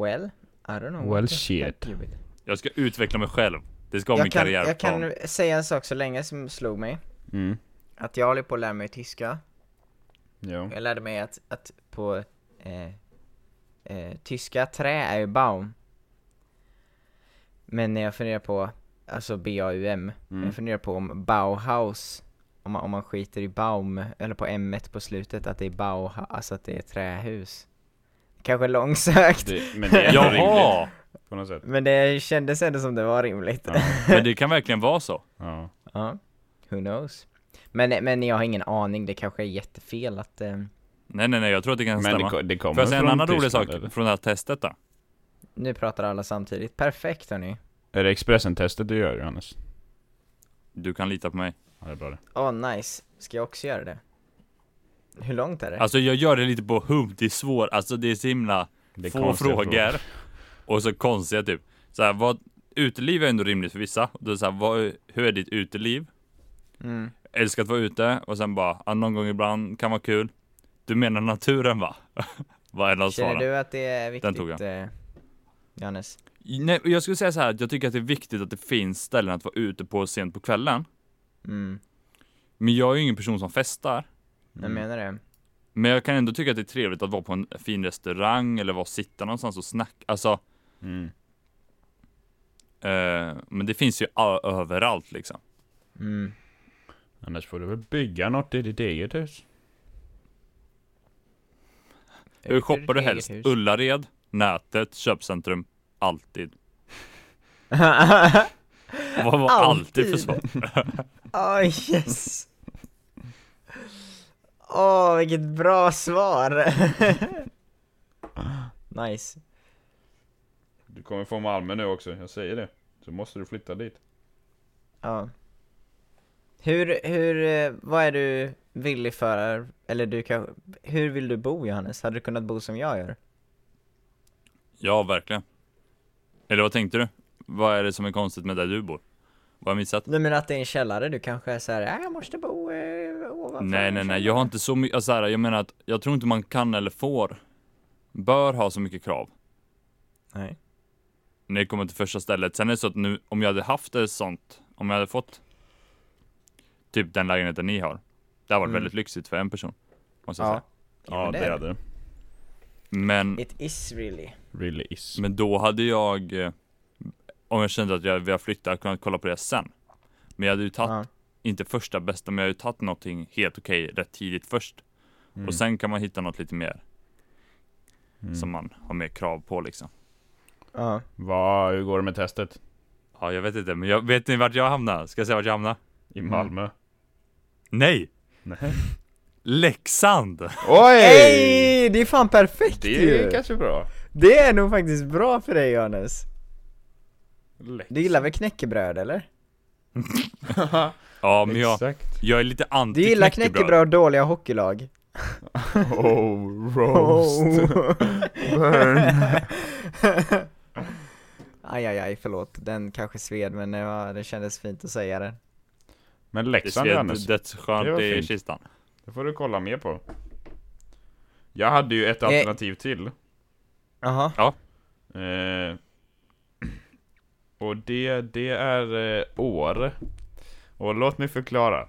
[SPEAKER 1] Well, I don't know.
[SPEAKER 2] Well,
[SPEAKER 1] what the
[SPEAKER 2] shit.
[SPEAKER 1] fuck you would-
[SPEAKER 3] Jag ska utveckla mig själv. Det ska vara min
[SPEAKER 1] Jag kan,
[SPEAKER 3] karriärplan.
[SPEAKER 1] jag kan säga en sak så länge som slog mig.
[SPEAKER 2] Mm.
[SPEAKER 1] Att jag håller på att lära mig tyska.
[SPEAKER 2] Ja.
[SPEAKER 1] Jag lärde mig att, att på eh, eh, tyska trä är ju baum. Men när jag funderar på, alltså B-A-U-M,
[SPEAKER 2] Mm.
[SPEAKER 1] jag funderar på om Bauhaus, om man, om man skiter i baum, eller på m på slutet, att det är Bauhaus, alltså att det är trähus. Kanske långsökt,
[SPEAKER 2] Det, men det är ändå rimligt
[SPEAKER 3] Jaha!
[SPEAKER 2] på något sätt.
[SPEAKER 1] men det kändes ändå som det var rimligt.
[SPEAKER 2] Ja.
[SPEAKER 3] Men det kan verkligen vara så.
[SPEAKER 2] Ja.
[SPEAKER 1] Ja, who knows. Men, men jag har ingen aning, det kanske är jättefel att... Eh,
[SPEAKER 3] Nej, nej, nej, jag tror att det kan
[SPEAKER 2] Men det,
[SPEAKER 3] stämma.
[SPEAKER 2] ko- det kommer
[SPEAKER 3] Får jag säga en
[SPEAKER 2] från
[SPEAKER 3] annan rolig
[SPEAKER 2] Tyskland,
[SPEAKER 3] sak
[SPEAKER 2] eller?
[SPEAKER 3] från det här testet då?
[SPEAKER 1] nu pratar alla samtidigt. Perfekt hörni.
[SPEAKER 2] Är det Expressen-testet du gör Johannes?
[SPEAKER 3] Du kan lita på mig.
[SPEAKER 2] Ja, det är bra det.
[SPEAKER 1] Åh nice. Ska jag också göra det? Hur långt är det?
[SPEAKER 3] Alltså jag gör det lite på hum, det är svårt, alltså det är så himla
[SPEAKER 2] det är
[SPEAKER 3] få
[SPEAKER 2] konstiga
[SPEAKER 3] frågor. Och så konstiga typ. Så här, vad, uteliv är ändå rimligt för vissa. Då är det så här, vad, hur är ditt uteliv?
[SPEAKER 1] Mm.
[SPEAKER 3] Älskar att vara ute och sen bara, ja, någon gång ibland kan vara kul. Du menar naturen va? Vad är det de
[SPEAKER 1] Känner
[SPEAKER 3] svarar?
[SPEAKER 1] du att det är viktigt?
[SPEAKER 3] tog jag.
[SPEAKER 1] eh, Johannes?
[SPEAKER 3] Nej, jag skulle säga så här, att jag tycker att det är viktigt att det finns ställen att vara ute på sent på kvällen.
[SPEAKER 1] Mm.
[SPEAKER 3] Men jag är ju ingen person som festar.
[SPEAKER 1] Jag menar det.
[SPEAKER 3] Men jag kan ändå tycka att det är trevligt att vara på en fin restaurang eller vara sitta någonstans och snacka. Alltså,
[SPEAKER 2] Mm.
[SPEAKER 3] eh, men det finns ju ö- överallt liksom.
[SPEAKER 1] Mm.
[SPEAKER 2] Annars får du väl bygga något i ditt eget hus?
[SPEAKER 3] Hur shoppar du
[SPEAKER 1] Eget
[SPEAKER 3] helst?
[SPEAKER 1] hus.
[SPEAKER 3] Ullared, nätet, köpcentrum, alltid. Vad var alltid för svar?
[SPEAKER 1] Åh yes! Åh vilket bra svar! nice.
[SPEAKER 2] Du kommer få Malmö nu också, jag säger det. Så måste du flytta dit.
[SPEAKER 1] Ja. Hur, hur, eh, vad är du villig för? Eller du kanske, hur vill du bo Johannes? Hade du kunnat bo som jag gör?
[SPEAKER 3] Ja, verkligen. Eller vad tänkte du? Vad är det som är konstigt med där du bor? Vad har jag missat?
[SPEAKER 1] Nej men att det är en källare, du kanske är såhär, äh, jag måste bo eh, ovanför
[SPEAKER 3] Nej,
[SPEAKER 1] en
[SPEAKER 3] nej, nej.
[SPEAKER 1] källare."
[SPEAKER 3] Jag har inte så mycket, alltså, så här, jag menar att jag tror inte man kan eller får, bör ha så mycket krav.
[SPEAKER 1] Nej.
[SPEAKER 3] när det kommer till första stället. Sen är det så att nu, om jag hade haft ett sånt, om jag hade fått typ den lägenheten ni har. Det hade varit
[SPEAKER 1] Mm.
[SPEAKER 3] väldigt lyxigt för en person. Måste jag
[SPEAKER 1] Ja.
[SPEAKER 3] säga.
[SPEAKER 1] Ja, men det är
[SPEAKER 2] hade det.
[SPEAKER 3] Men,
[SPEAKER 1] It is really.
[SPEAKER 2] Really is.
[SPEAKER 3] men då hade jag, eh, om jag kände att jag vi har flyttat, kunnat kolla på det sen. Men jag hade ju tagit,
[SPEAKER 1] Ja.
[SPEAKER 3] inte första bästa, men jag hade ju tagit någonting helt okej rätt tidigt först.
[SPEAKER 2] Mm.
[SPEAKER 3] Och sen kan man hitta något lite mer
[SPEAKER 2] Mm.
[SPEAKER 3] som man har mer krav på liksom.
[SPEAKER 1] Ja.
[SPEAKER 2] Vad, hur går det med testet?
[SPEAKER 3] Ja, jag vet inte, men jag, vet ni vart jag hamnar? Ska jag säga vart jag hamnar?
[SPEAKER 2] I Malmö?
[SPEAKER 3] Nej!
[SPEAKER 2] Nej.
[SPEAKER 3] Leksand!
[SPEAKER 2] Oj!
[SPEAKER 1] Ey, det är fan perfekt
[SPEAKER 2] Det är
[SPEAKER 1] ju!
[SPEAKER 2] ju kanske bra.
[SPEAKER 1] Det är nog faktiskt bra för dig Johannes.
[SPEAKER 2] Lätt.
[SPEAKER 1] Du gillar väl knäckebröd eller?
[SPEAKER 3] Ja, men jag,
[SPEAKER 2] Exakt.
[SPEAKER 3] jag är lite anti
[SPEAKER 1] Du gillar knäckebröd och dåliga hockeylag?
[SPEAKER 2] Oh, roast. Burn.
[SPEAKER 1] aj, aj, aj, förlåt. Den kanske sved men det, var, det kändes fint att säga den.
[SPEAKER 2] Men
[SPEAKER 3] Det
[SPEAKER 2] Leksand Johannes,
[SPEAKER 3] sved dödsskönt
[SPEAKER 2] Det var
[SPEAKER 3] i
[SPEAKER 2] fint.
[SPEAKER 3] kistan.
[SPEAKER 2] det får du kolla mer på. Jag hade ju ett
[SPEAKER 1] Eh.
[SPEAKER 2] alternativ till.
[SPEAKER 1] Jaha.
[SPEAKER 2] Eh, och det, det är eh, år. Och låt mig förklara.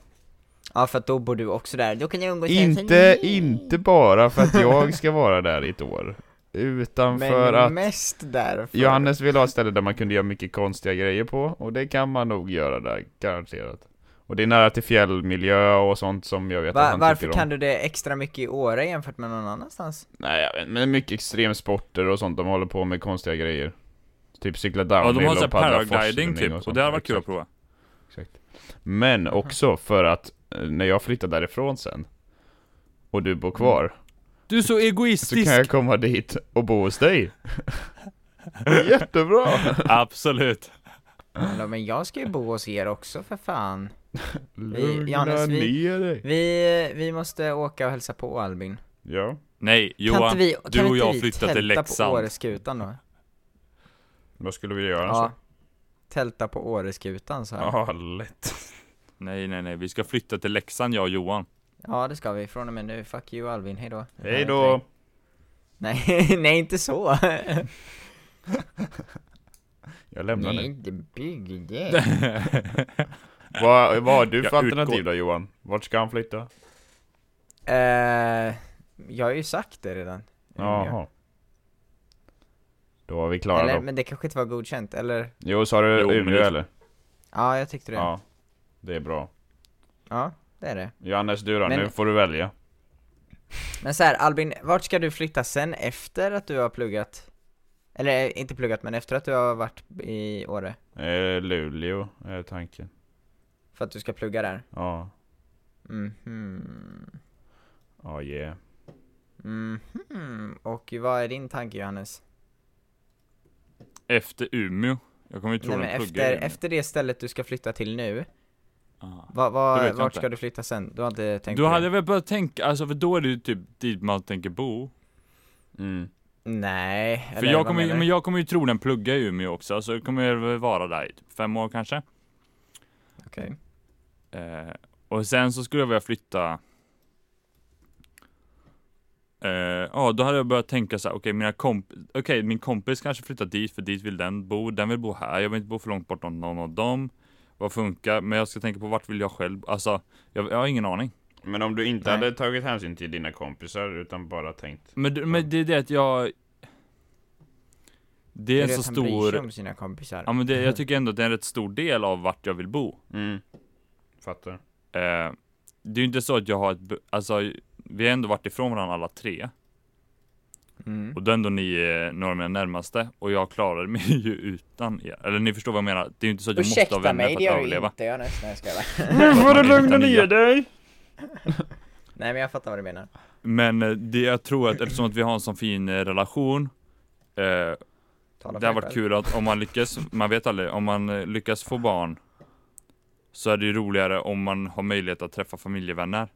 [SPEAKER 1] Ja för att då bor du också där, då kan jag umgås
[SPEAKER 2] Inte, inte bara för att jag ska vara där i ett år. Utan
[SPEAKER 1] Men
[SPEAKER 2] för att
[SPEAKER 1] mest därför
[SPEAKER 2] Johannes ville ha ett ställe där man kunde göra mycket konstiga grejer på. Och det kan man nog göra där, garanterat. Och det är nära till fjällmiljö och sånt som jag vet att
[SPEAKER 1] Va-
[SPEAKER 2] han
[SPEAKER 1] Varför
[SPEAKER 2] tycker om.
[SPEAKER 1] kan du det extra mycket i Åre jämfört med någon annanstans?
[SPEAKER 2] Nej, jag vet, men mycket extremsporter och sånt, de håller på med konstiga grejer. Typ cykla
[SPEAKER 3] Ja,
[SPEAKER 2] downhill
[SPEAKER 3] de har
[SPEAKER 2] och
[SPEAKER 3] såhär
[SPEAKER 2] paddla
[SPEAKER 3] paragliding
[SPEAKER 2] forsrunning
[SPEAKER 3] typ, och,
[SPEAKER 2] och sånt.
[SPEAKER 3] det hade varit kul att
[SPEAKER 2] Exakt,
[SPEAKER 3] prova.
[SPEAKER 2] Exakt. Men också för att eh, när jag flyttar därifrån sen, och du bor kvar,
[SPEAKER 3] Du är så
[SPEAKER 2] så
[SPEAKER 3] egoistisk!
[SPEAKER 2] kan jag komma dit och bo hos dig. Jättebra!
[SPEAKER 3] Absolut.
[SPEAKER 1] Hallå, men jag ska ju bo hos er också för fan
[SPEAKER 2] Lugna
[SPEAKER 1] Johannes, vi-
[SPEAKER 2] ner dig.
[SPEAKER 1] Vi, vi måste åka och hälsa på Albin
[SPEAKER 2] Ja,
[SPEAKER 3] Nej,
[SPEAKER 1] Kan
[SPEAKER 3] Johan.
[SPEAKER 1] inte vi,
[SPEAKER 3] du
[SPEAKER 1] kan
[SPEAKER 3] och
[SPEAKER 1] inte
[SPEAKER 3] jag
[SPEAKER 1] vi
[SPEAKER 3] flyttar till
[SPEAKER 1] tälta
[SPEAKER 3] Leksand?
[SPEAKER 1] på Åreskutan då?
[SPEAKER 2] vad skulle vi göra?
[SPEAKER 1] Ja
[SPEAKER 2] Ja,
[SPEAKER 1] Tälta på Åreskutan så här.
[SPEAKER 2] ja lätt.
[SPEAKER 3] Nej, nej, nej. Vi ska flytta till Leksand, jag och Johan.
[SPEAKER 1] Ja det ska vi, från och med nu, fuck you Albin, hejdå
[SPEAKER 2] Hej då.
[SPEAKER 1] Nej, nej inte så!
[SPEAKER 2] Jag lämnar
[SPEAKER 1] Ni är
[SPEAKER 2] nu.
[SPEAKER 1] inte byggde
[SPEAKER 2] Vad, vad har du
[SPEAKER 3] Jag
[SPEAKER 2] för alternativ
[SPEAKER 3] utgår-
[SPEAKER 2] då Johan? Vart ska han flytta?
[SPEAKER 1] Eh, jag har ju sagt det redan
[SPEAKER 2] Jaha. Då har vi klarat
[SPEAKER 1] Eller,
[SPEAKER 2] dem.
[SPEAKER 1] men det kanske inte var godkänt, eller?
[SPEAKER 2] Jo, sa du
[SPEAKER 3] Jo, men
[SPEAKER 2] Umeå
[SPEAKER 3] det-
[SPEAKER 2] eller?
[SPEAKER 1] Ja, jag tyckte det. Ja,
[SPEAKER 2] Ja. Det är bra.
[SPEAKER 1] det är det.
[SPEAKER 2] Johannes, du då?
[SPEAKER 1] Men-
[SPEAKER 2] Nu får du välja.
[SPEAKER 1] Men så här, Albin, vart ska du flytta sen efter att du har pluggat? Eller eh, inte pluggat, men efter att du har varit i Åre?
[SPEAKER 2] Eh, Luleå är tanken.
[SPEAKER 1] För att du ska plugga där?
[SPEAKER 2] Ja.
[SPEAKER 1] Mhm.
[SPEAKER 2] Ja, yeah.
[SPEAKER 1] Mhm. Och vad är din tanke Johannes?
[SPEAKER 3] Efter Umeå. Jag kommer ju tro
[SPEAKER 1] Nej, men
[SPEAKER 3] de
[SPEAKER 1] efter,
[SPEAKER 3] pluggar i Umeå.
[SPEAKER 1] efter det stället du ska flytta till nu,
[SPEAKER 3] Ah.
[SPEAKER 1] va,
[SPEAKER 3] Det vet
[SPEAKER 1] va,
[SPEAKER 3] jag
[SPEAKER 1] vart
[SPEAKER 3] inte.
[SPEAKER 1] ska du flytta sen? Du har inte tänkt
[SPEAKER 3] Du
[SPEAKER 1] på
[SPEAKER 3] hade
[SPEAKER 1] det?
[SPEAKER 3] väl börjat tänka, alltså för då är det ju typ dit man tänker bo.
[SPEAKER 2] Mm.
[SPEAKER 1] Nej,
[SPEAKER 3] För
[SPEAKER 1] eller
[SPEAKER 3] jag
[SPEAKER 1] vad
[SPEAKER 3] kommer, ju-
[SPEAKER 1] menar
[SPEAKER 3] men
[SPEAKER 1] du?
[SPEAKER 3] jag kommer ju tro den pluggar i Umeå också, så jag kommer jag väl vara där i typ fem år kanske.
[SPEAKER 1] Okej.
[SPEAKER 3] Eh, och sen så skulle jag vilja flytta. Eh, Ja, då hade jag börjat tänka så här, okej, mina komp- okej, min kompis kanske flyttar dit, för dit vill den bo, den vill bo här, jag vill inte bo för långt bort från någon av dem. Vad funkar? Men jag ska tänka på vart vill jag själv, alltså, jag, jag har ingen aning.
[SPEAKER 2] Men om du inte
[SPEAKER 1] Nej.
[SPEAKER 2] hade tagit hänsyn till dina kompisar utan bara tänkt
[SPEAKER 3] Men, du- men det är det att jag... Det är en
[SPEAKER 1] det
[SPEAKER 3] så
[SPEAKER 1] att han bryr sig
[SPEAKER 3] stor...
[SPEAKER 1] om sina kompisar.
[SPEAKER 3] Ja men det, jag tycker ändå att det är en rätt stor del av vart jag vill bo.
[SPEAKER 2] Mm Fattar
[SPEAKER 3] Eh, det är ju inte så att jag har ett... b- Alltså, vi har ändå varit ifrån varandra alla tre.
[SPEAKER 1] Mm.
[SPEAKER 3] Och då är ändå ni eh, några av mina närmaste. Och jag klarade mig ju utan er. Eller ni förstår vad jag menar. Det är ju inte så att jag måste ha vänner för att överleva.
[SPEAKER 1] inte Johannes, nej jag skojar bara.
[SPEAKER 2] Nu
[SPEAKER 3] får du lugna ner
[SPEAKER 2] dig!
[SPEAKER 1] Nej men jag fattar vad du menar.
[SPEAKER 3] Men eh, det jag tror att eftersom att vi har en sån fin eh, relation. Eh,
[SPEAKER 1] Tala
[SPEAKER 3] Det
[SPEAKER 1] för
[SPEAKER 3] har
[SPEAKER 1] dig
[SPEAKER 3] varit
[SPEAKER 1] själv.
[SPEAKER 3] kul att om man lyckas, man vet aldrig, om man eh, lyckas få barn så är det ju roligare om man har möjlighet att träffa familjevänner.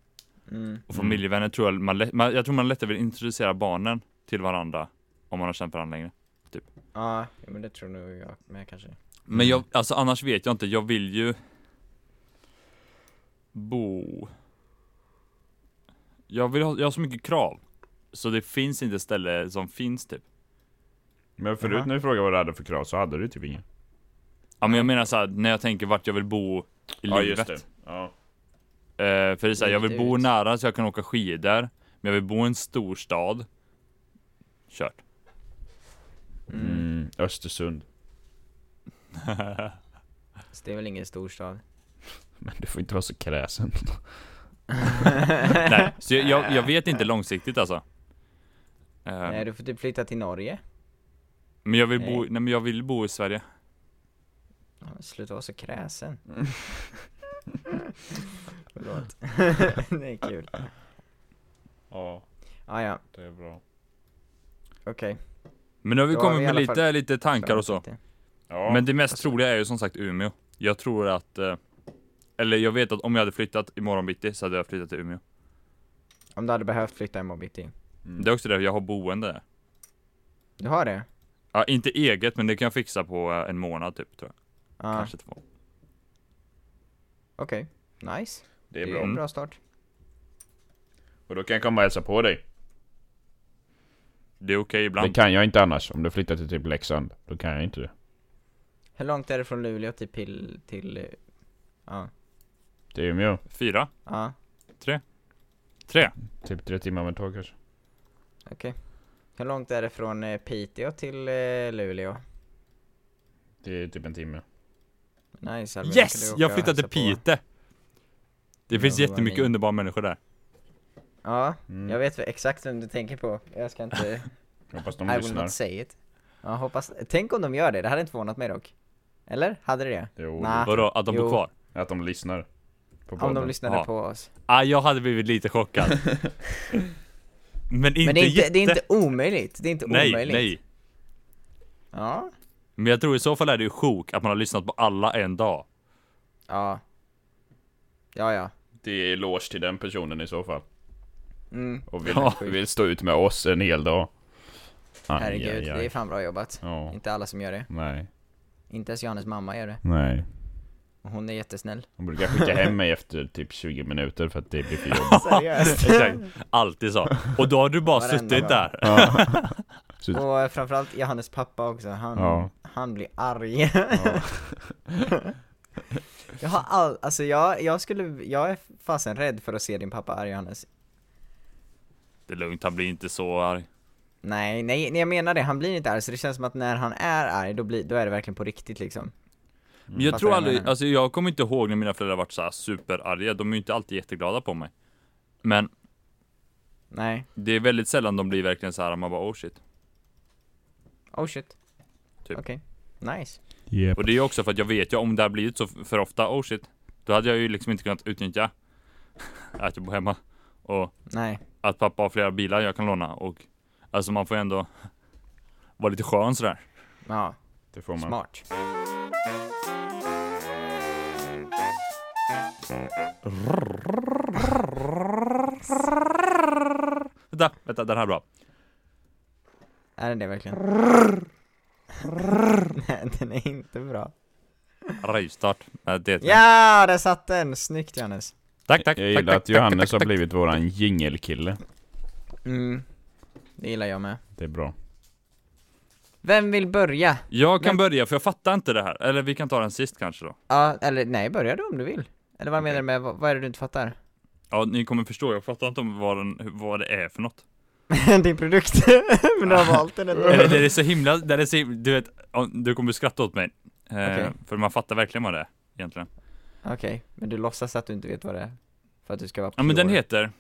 [SPEAKER 1] Mm.
[SPEAKER 3] Och
[SPEAKER 2] Mm.
[SPEAKER 3] familjevänner tror jag man, lätt- man jag tror man lättare vill introducera barnen till varandra om man har känt varandra längre.
[SPEAKER 1] Ja, jo, men det tror nog jag med kanske.
[SPEAKER 3] Men jag,
[SPEAKER 1] Mm.
[SPEAKER 3] alltså annars vet jag inte, jag vill ju bo... Jag vill ha, jag har så mycket krav. Så det finns inte ställe som finns typ.
[SPEAKER 2] Men förut
[SPEAKER 1] Jaha.
[SPEAKER 2] när du frågade vad du hade för krav så hade du typ ingen
[SPEAKER 3] Ja men jag menar såhär, när jag tänker vart jag vill bo i livet.
[SPEAKER 2] Ja
[SPEAKER 3] Eh, för det är såhär, jag vill
[SPEAKER 1] Livet
[SPEAKER 3] bo
[SPEAKER 1] ut.
[SPEAKER 3] nära så jag kan åka skidor, men jag vill bo i en storstad. Kört.
[SPEAKER 1] Mm.
[SPEAKER 2] mm. Östersund
[SPEAKER 1] Så det är väl ingen storstad.
[SPEAKER 2] Men du får inte vara så kräsen
[SPEAKER 3] Nej, så jag, jag, jag vet inte långsiktigt alltså. Eh,
[SPEAKER 1] Nej, du får typ flytta till Norge.
[SPEAKER 3] men jag vill bo,
[SPEAKER 1] nej.
[SPEAKER 3] nej men jag vill bo i Sverige.
[SPEAKER 1] Ja, men Sluta vara så kräsen. Förlåt. det är kul.
[SPEAKER 2] Ja,
[SPEAKER 1] Ah, ja,
[SPEAKER 2] det är bra
[SPEAKER 1] okej.
[SPEAKER 3] Men nu har vi
[SPEAKER 1] Då har
[SPEAKER 3] kommit
[SPEAKER 1] vi i
[SPEAKER 3] med
[SPEAKER 1] alla
[SPEAKER 3] lite,
[SPEAKER 1] fall-
[SPEAKER 3] lite tankar och så.
[SPEAKER 2] Ja,
[SPEAKER 3] Men det mest troliga är ju som sagt Umeå. Jag tror att, eh, eller jag vet att om jag hade flyttat imorgon bitti så hade jag flyttat till Umeå.
[SPEAKER 1] Om du hade behövt flytta imorgon bitti.
[SPEAKER 2] mm.
[SPEAKER 3] Det är också därför jag har boende där.
[SPEAKER 1] Du har det?
[SPEAKER 3] Ja, inte eget, men det kan jag fixa på eh, en månad typ, tror jag.
[SPEAKER 1] Ja,
[SPEAKER 3] Kanske två.
[SPEAKER 1] okej. Nice.
[SPEAKER 2] det
[SPEAKER 1] Det
[SPEAKER 2] är
[SPEAKER 3] Mm.
[SPEAKER 1] är en
[SPEAKER 2] bra
[SPEAKER 1] bra start.
[SPEAKER 2] Och då kan jag komma och hälsa på dig
[SPEAKER 3] Det är okej
[SPEAKER 2] Det
[SPEAKER 3] ibland.
[SPEAKER 2] kan jag inte annars. Om du flyttar till typ Leksand, då kan jag inte det.
[SPEAKER 1] Hur långt är det från Luleå till Pill... till... eh, Ja.
[SPEAKER 2] Till Umeå.
[SPEAKER 3] Fyra,
[SPEAKER 1] Ja,
[SPEAKER 3] tre.
[SPEAKER 2] Typ tre timmar med tåg kanske.
[SPEAKER 1] okej. Hur långt är det från eh, Piteå till eh, Luleå?
[SPEAKER 2] Det är typ en timme.
[SPEAKER 1] Nice Albin, då kan
[SPEAKER 3] Yes!
[SPEAKER 1] du åka
[SPEAKER 3] Jag
[SPEAKER 1] och
[SPEAKER 3] flyttade
[SPEAKER 1] hälsa
[SPEAKER 3] till Pite. Det
[SPEAKER 1] Ja,
[SPEAKER 3] finns
[SPEAKER 1] det var
[SPEAKER 3] jättemycket
[SPEAKER 1] min.
[SPEAKER 3] underbara människor där.
[SPEAKER 1] på. Ja,
[SPEAKER 2] Mm.
[SPEAKER 1] jag vet exakt vem du tänker på. Jag ska inte...
[SPEAKER 2] Hoppas de
[SPEAKER 1] I will
[SPEAKER 2] lyssnar.
[SPEAKER 1] not say it. Ja, hoppas... Tänk om de gör det, det hade inte förvånat mig dock. Eller? Hade det det?
[SPEAKER 2] Jo,
[SPEAKER 1] Nah.
[SPEAKER 3] Vadå, att de
[SPEAKER 1] Ah. Jo.
[SPEAKER 3] bor kvar?
[SPEAKER 2] att de lyssnar. På
[SPEAKER 1] Om de
[SPEAKER 2] podden.
[SPEAKER 1] lyssnade
[SPEAKER 3] Ja.
[SPEAKER 1] på oss.
[SPEAKER 3] Ah, jag hade blivit lite chockad. Men inte
[SPEAKER 1] Men det är inte,
[SPEAKER 3] jätte.
[SPEAKER 1] det är inte omöjligt. Det är inte
[SPEAKER 3] nej,
[SPEAKER 1] omöjligt.
[SPEAKER 3] nej.
[SPEAKER 1] Ja.
[SPEAKER 3] Men jag tror i så fall är det ju sjuk att man har lyssnat på alla en dag.
[SPEAKER 1] Ja. Ja, ja.
[SPEAKER 2] Det är eloge till den personen i så fall.
[SPEAKER 1] Mm.
[SPEAKER 2] Och vill,
[SPEAKER 3] Ja.
[SPEAKER 2] vill stå ut med oss en hel dag. Aj,
[SPEAKER 1] Herregud,
[SPEAKER 2] aj, aj.
[SPEAKER 1] det är fan bra jobbat.
[SPEAKER 2] Ja,
[SPEAKER 3] Mm.
[SPEAKER 1] Inte alla som gör det.
[SPEAKER 2] nej.
[SPEAKER 1] Inte ens Johannes mamma gör det.
[SPEAKER 2] Nej.
[SPEAKER 1] Och hon är jättesnäll.
[SPEAKER 2] De brukar skicka hem mig efter typ 20 minuter för att det blir för jobbigt.
[SPEAKER 1] Seriöst.
[SPEAKER 3] Exakt. Alltid så. Och då har du bara
[SPEAKER 1] Varenda
[SPEAKER 3] suttit
[SPEAKER 1] dag.
[SPEAKER 3] där.
[SPEAKER 2] Ja.
[SPEAKER 1] Och eh, framförallt Johannes pappa också, han,
[SPEAKER 2] Ja.
[SPEAKER 1] han blir arg. jag har all, alltså jag, jag skulle, jag är fasen rädd för att se din pappa arg Johannes.
[SPEAKER 3] Det är lugnt, han blir inte så arg.
[SPEAKER 1] Nej, nej, nej jag menar det, han blir inte arg så det känns som att när han är arg då, blir, då är det verkligen på riktigt liksom.
[SPEAKER 3] Men jag
[SPEAKER 1] Fattar
[SPEAKER 3] tror
[SPEAKER 1] vad jag
[SPEAKER 3] aldrig,
[SPEAKER 1] menar?
[SPEAKER 3] alltså jag kommer inte ihåg när mina föräldrar varit så här superarga. De är ju inte alltid jätteglada på mig. Men
[SPEAKER 1] Nej,
[SPEAKER 3] det är väldigt sällan de blir verkligen så här man bara oh shit.
[SPEAKER 1] oh shit.
[SPEAKER 3] Typ.
[SPEAKER 1] Okej, nice.
[SPEAKER 2] Yep.
[SPEAKER 3] Och det är ju också för att jag vet ju om det har blivit så f- för ofta, oh shit. Då hade jag ju liksom inte kunnat utnyttja att jag bor hemma. Och
[SPEAKER 1] Nej,
[SPEAKER 3] att pappa har flera bilar jag kan låna och alltså man får ju ändå vara lite skön sådär.
[SPEAKER 1] ja,
[SPEAKER 2] Det får man.
[SPEAKER 1] smart.
[SPEAKER 3] Vänta, vänta, den här är bra.
[SPEAKER 1] Är den det verkligen? nej, den är inte bra.
[SPEAKER 3] Rivstart. Ja, det-
[SPEAKER 1] Ja, där satt den! Snyggt Johannes.
[SPEAKER 3] Tack, tack.
[SPEAKER 2] Jag gillar
[SPEAKER 3] tack,
[SPEAKER 2] att
[SPEAKER 3] tack, tack,
[SPEAKER 2] Johannes
[SPEAKER 3] tack,
[SPEAKER 2] har
[SPEAKER 3] tack.
[SPEAKER 2] blivit våran jingelkille.
[SPEAKER 1] Mm, det gillar jag med.
[SPEAKER 2] Det är bra.
[SPEAKER 1] Vem vill börja?
[SPEAKER 3] Jag
[SPEAKER 1] Men-
[SPEAKER 3] kan börja för jag fattar inte det här. Eller vi kan ta den sist kanske då.
[SPEAKER 1] Ja, eller nej, börja du om du vill. Eller vad
[SPEAKER 2] Okej.
[SPEAKER 1] menar du med, vad, vad är det du inte fattar?
[SPEAKER 3] Ja, ni kommer förstå. Jag fattar inte om vad, den, hur- vad det är för något.
[SPEAKER 1] Din produkt, men du har valt den ändå.
[SPEAKER 3] Eller det är så himla, det är så, him- du vet, ja, du kommer skratta åt mig. Eh,
[SPEAKER 1] Okej.
[SPEAKER 3] För man fattar verkligen vad det är egentligen.
[SPEAKER 1] Okej, men du låtsas att du inte vet vad det är? För att du ska vara
[SPEAKER 3] Ja men den
[SPEAKER 1] pure.
[SPEAKER 3] heter...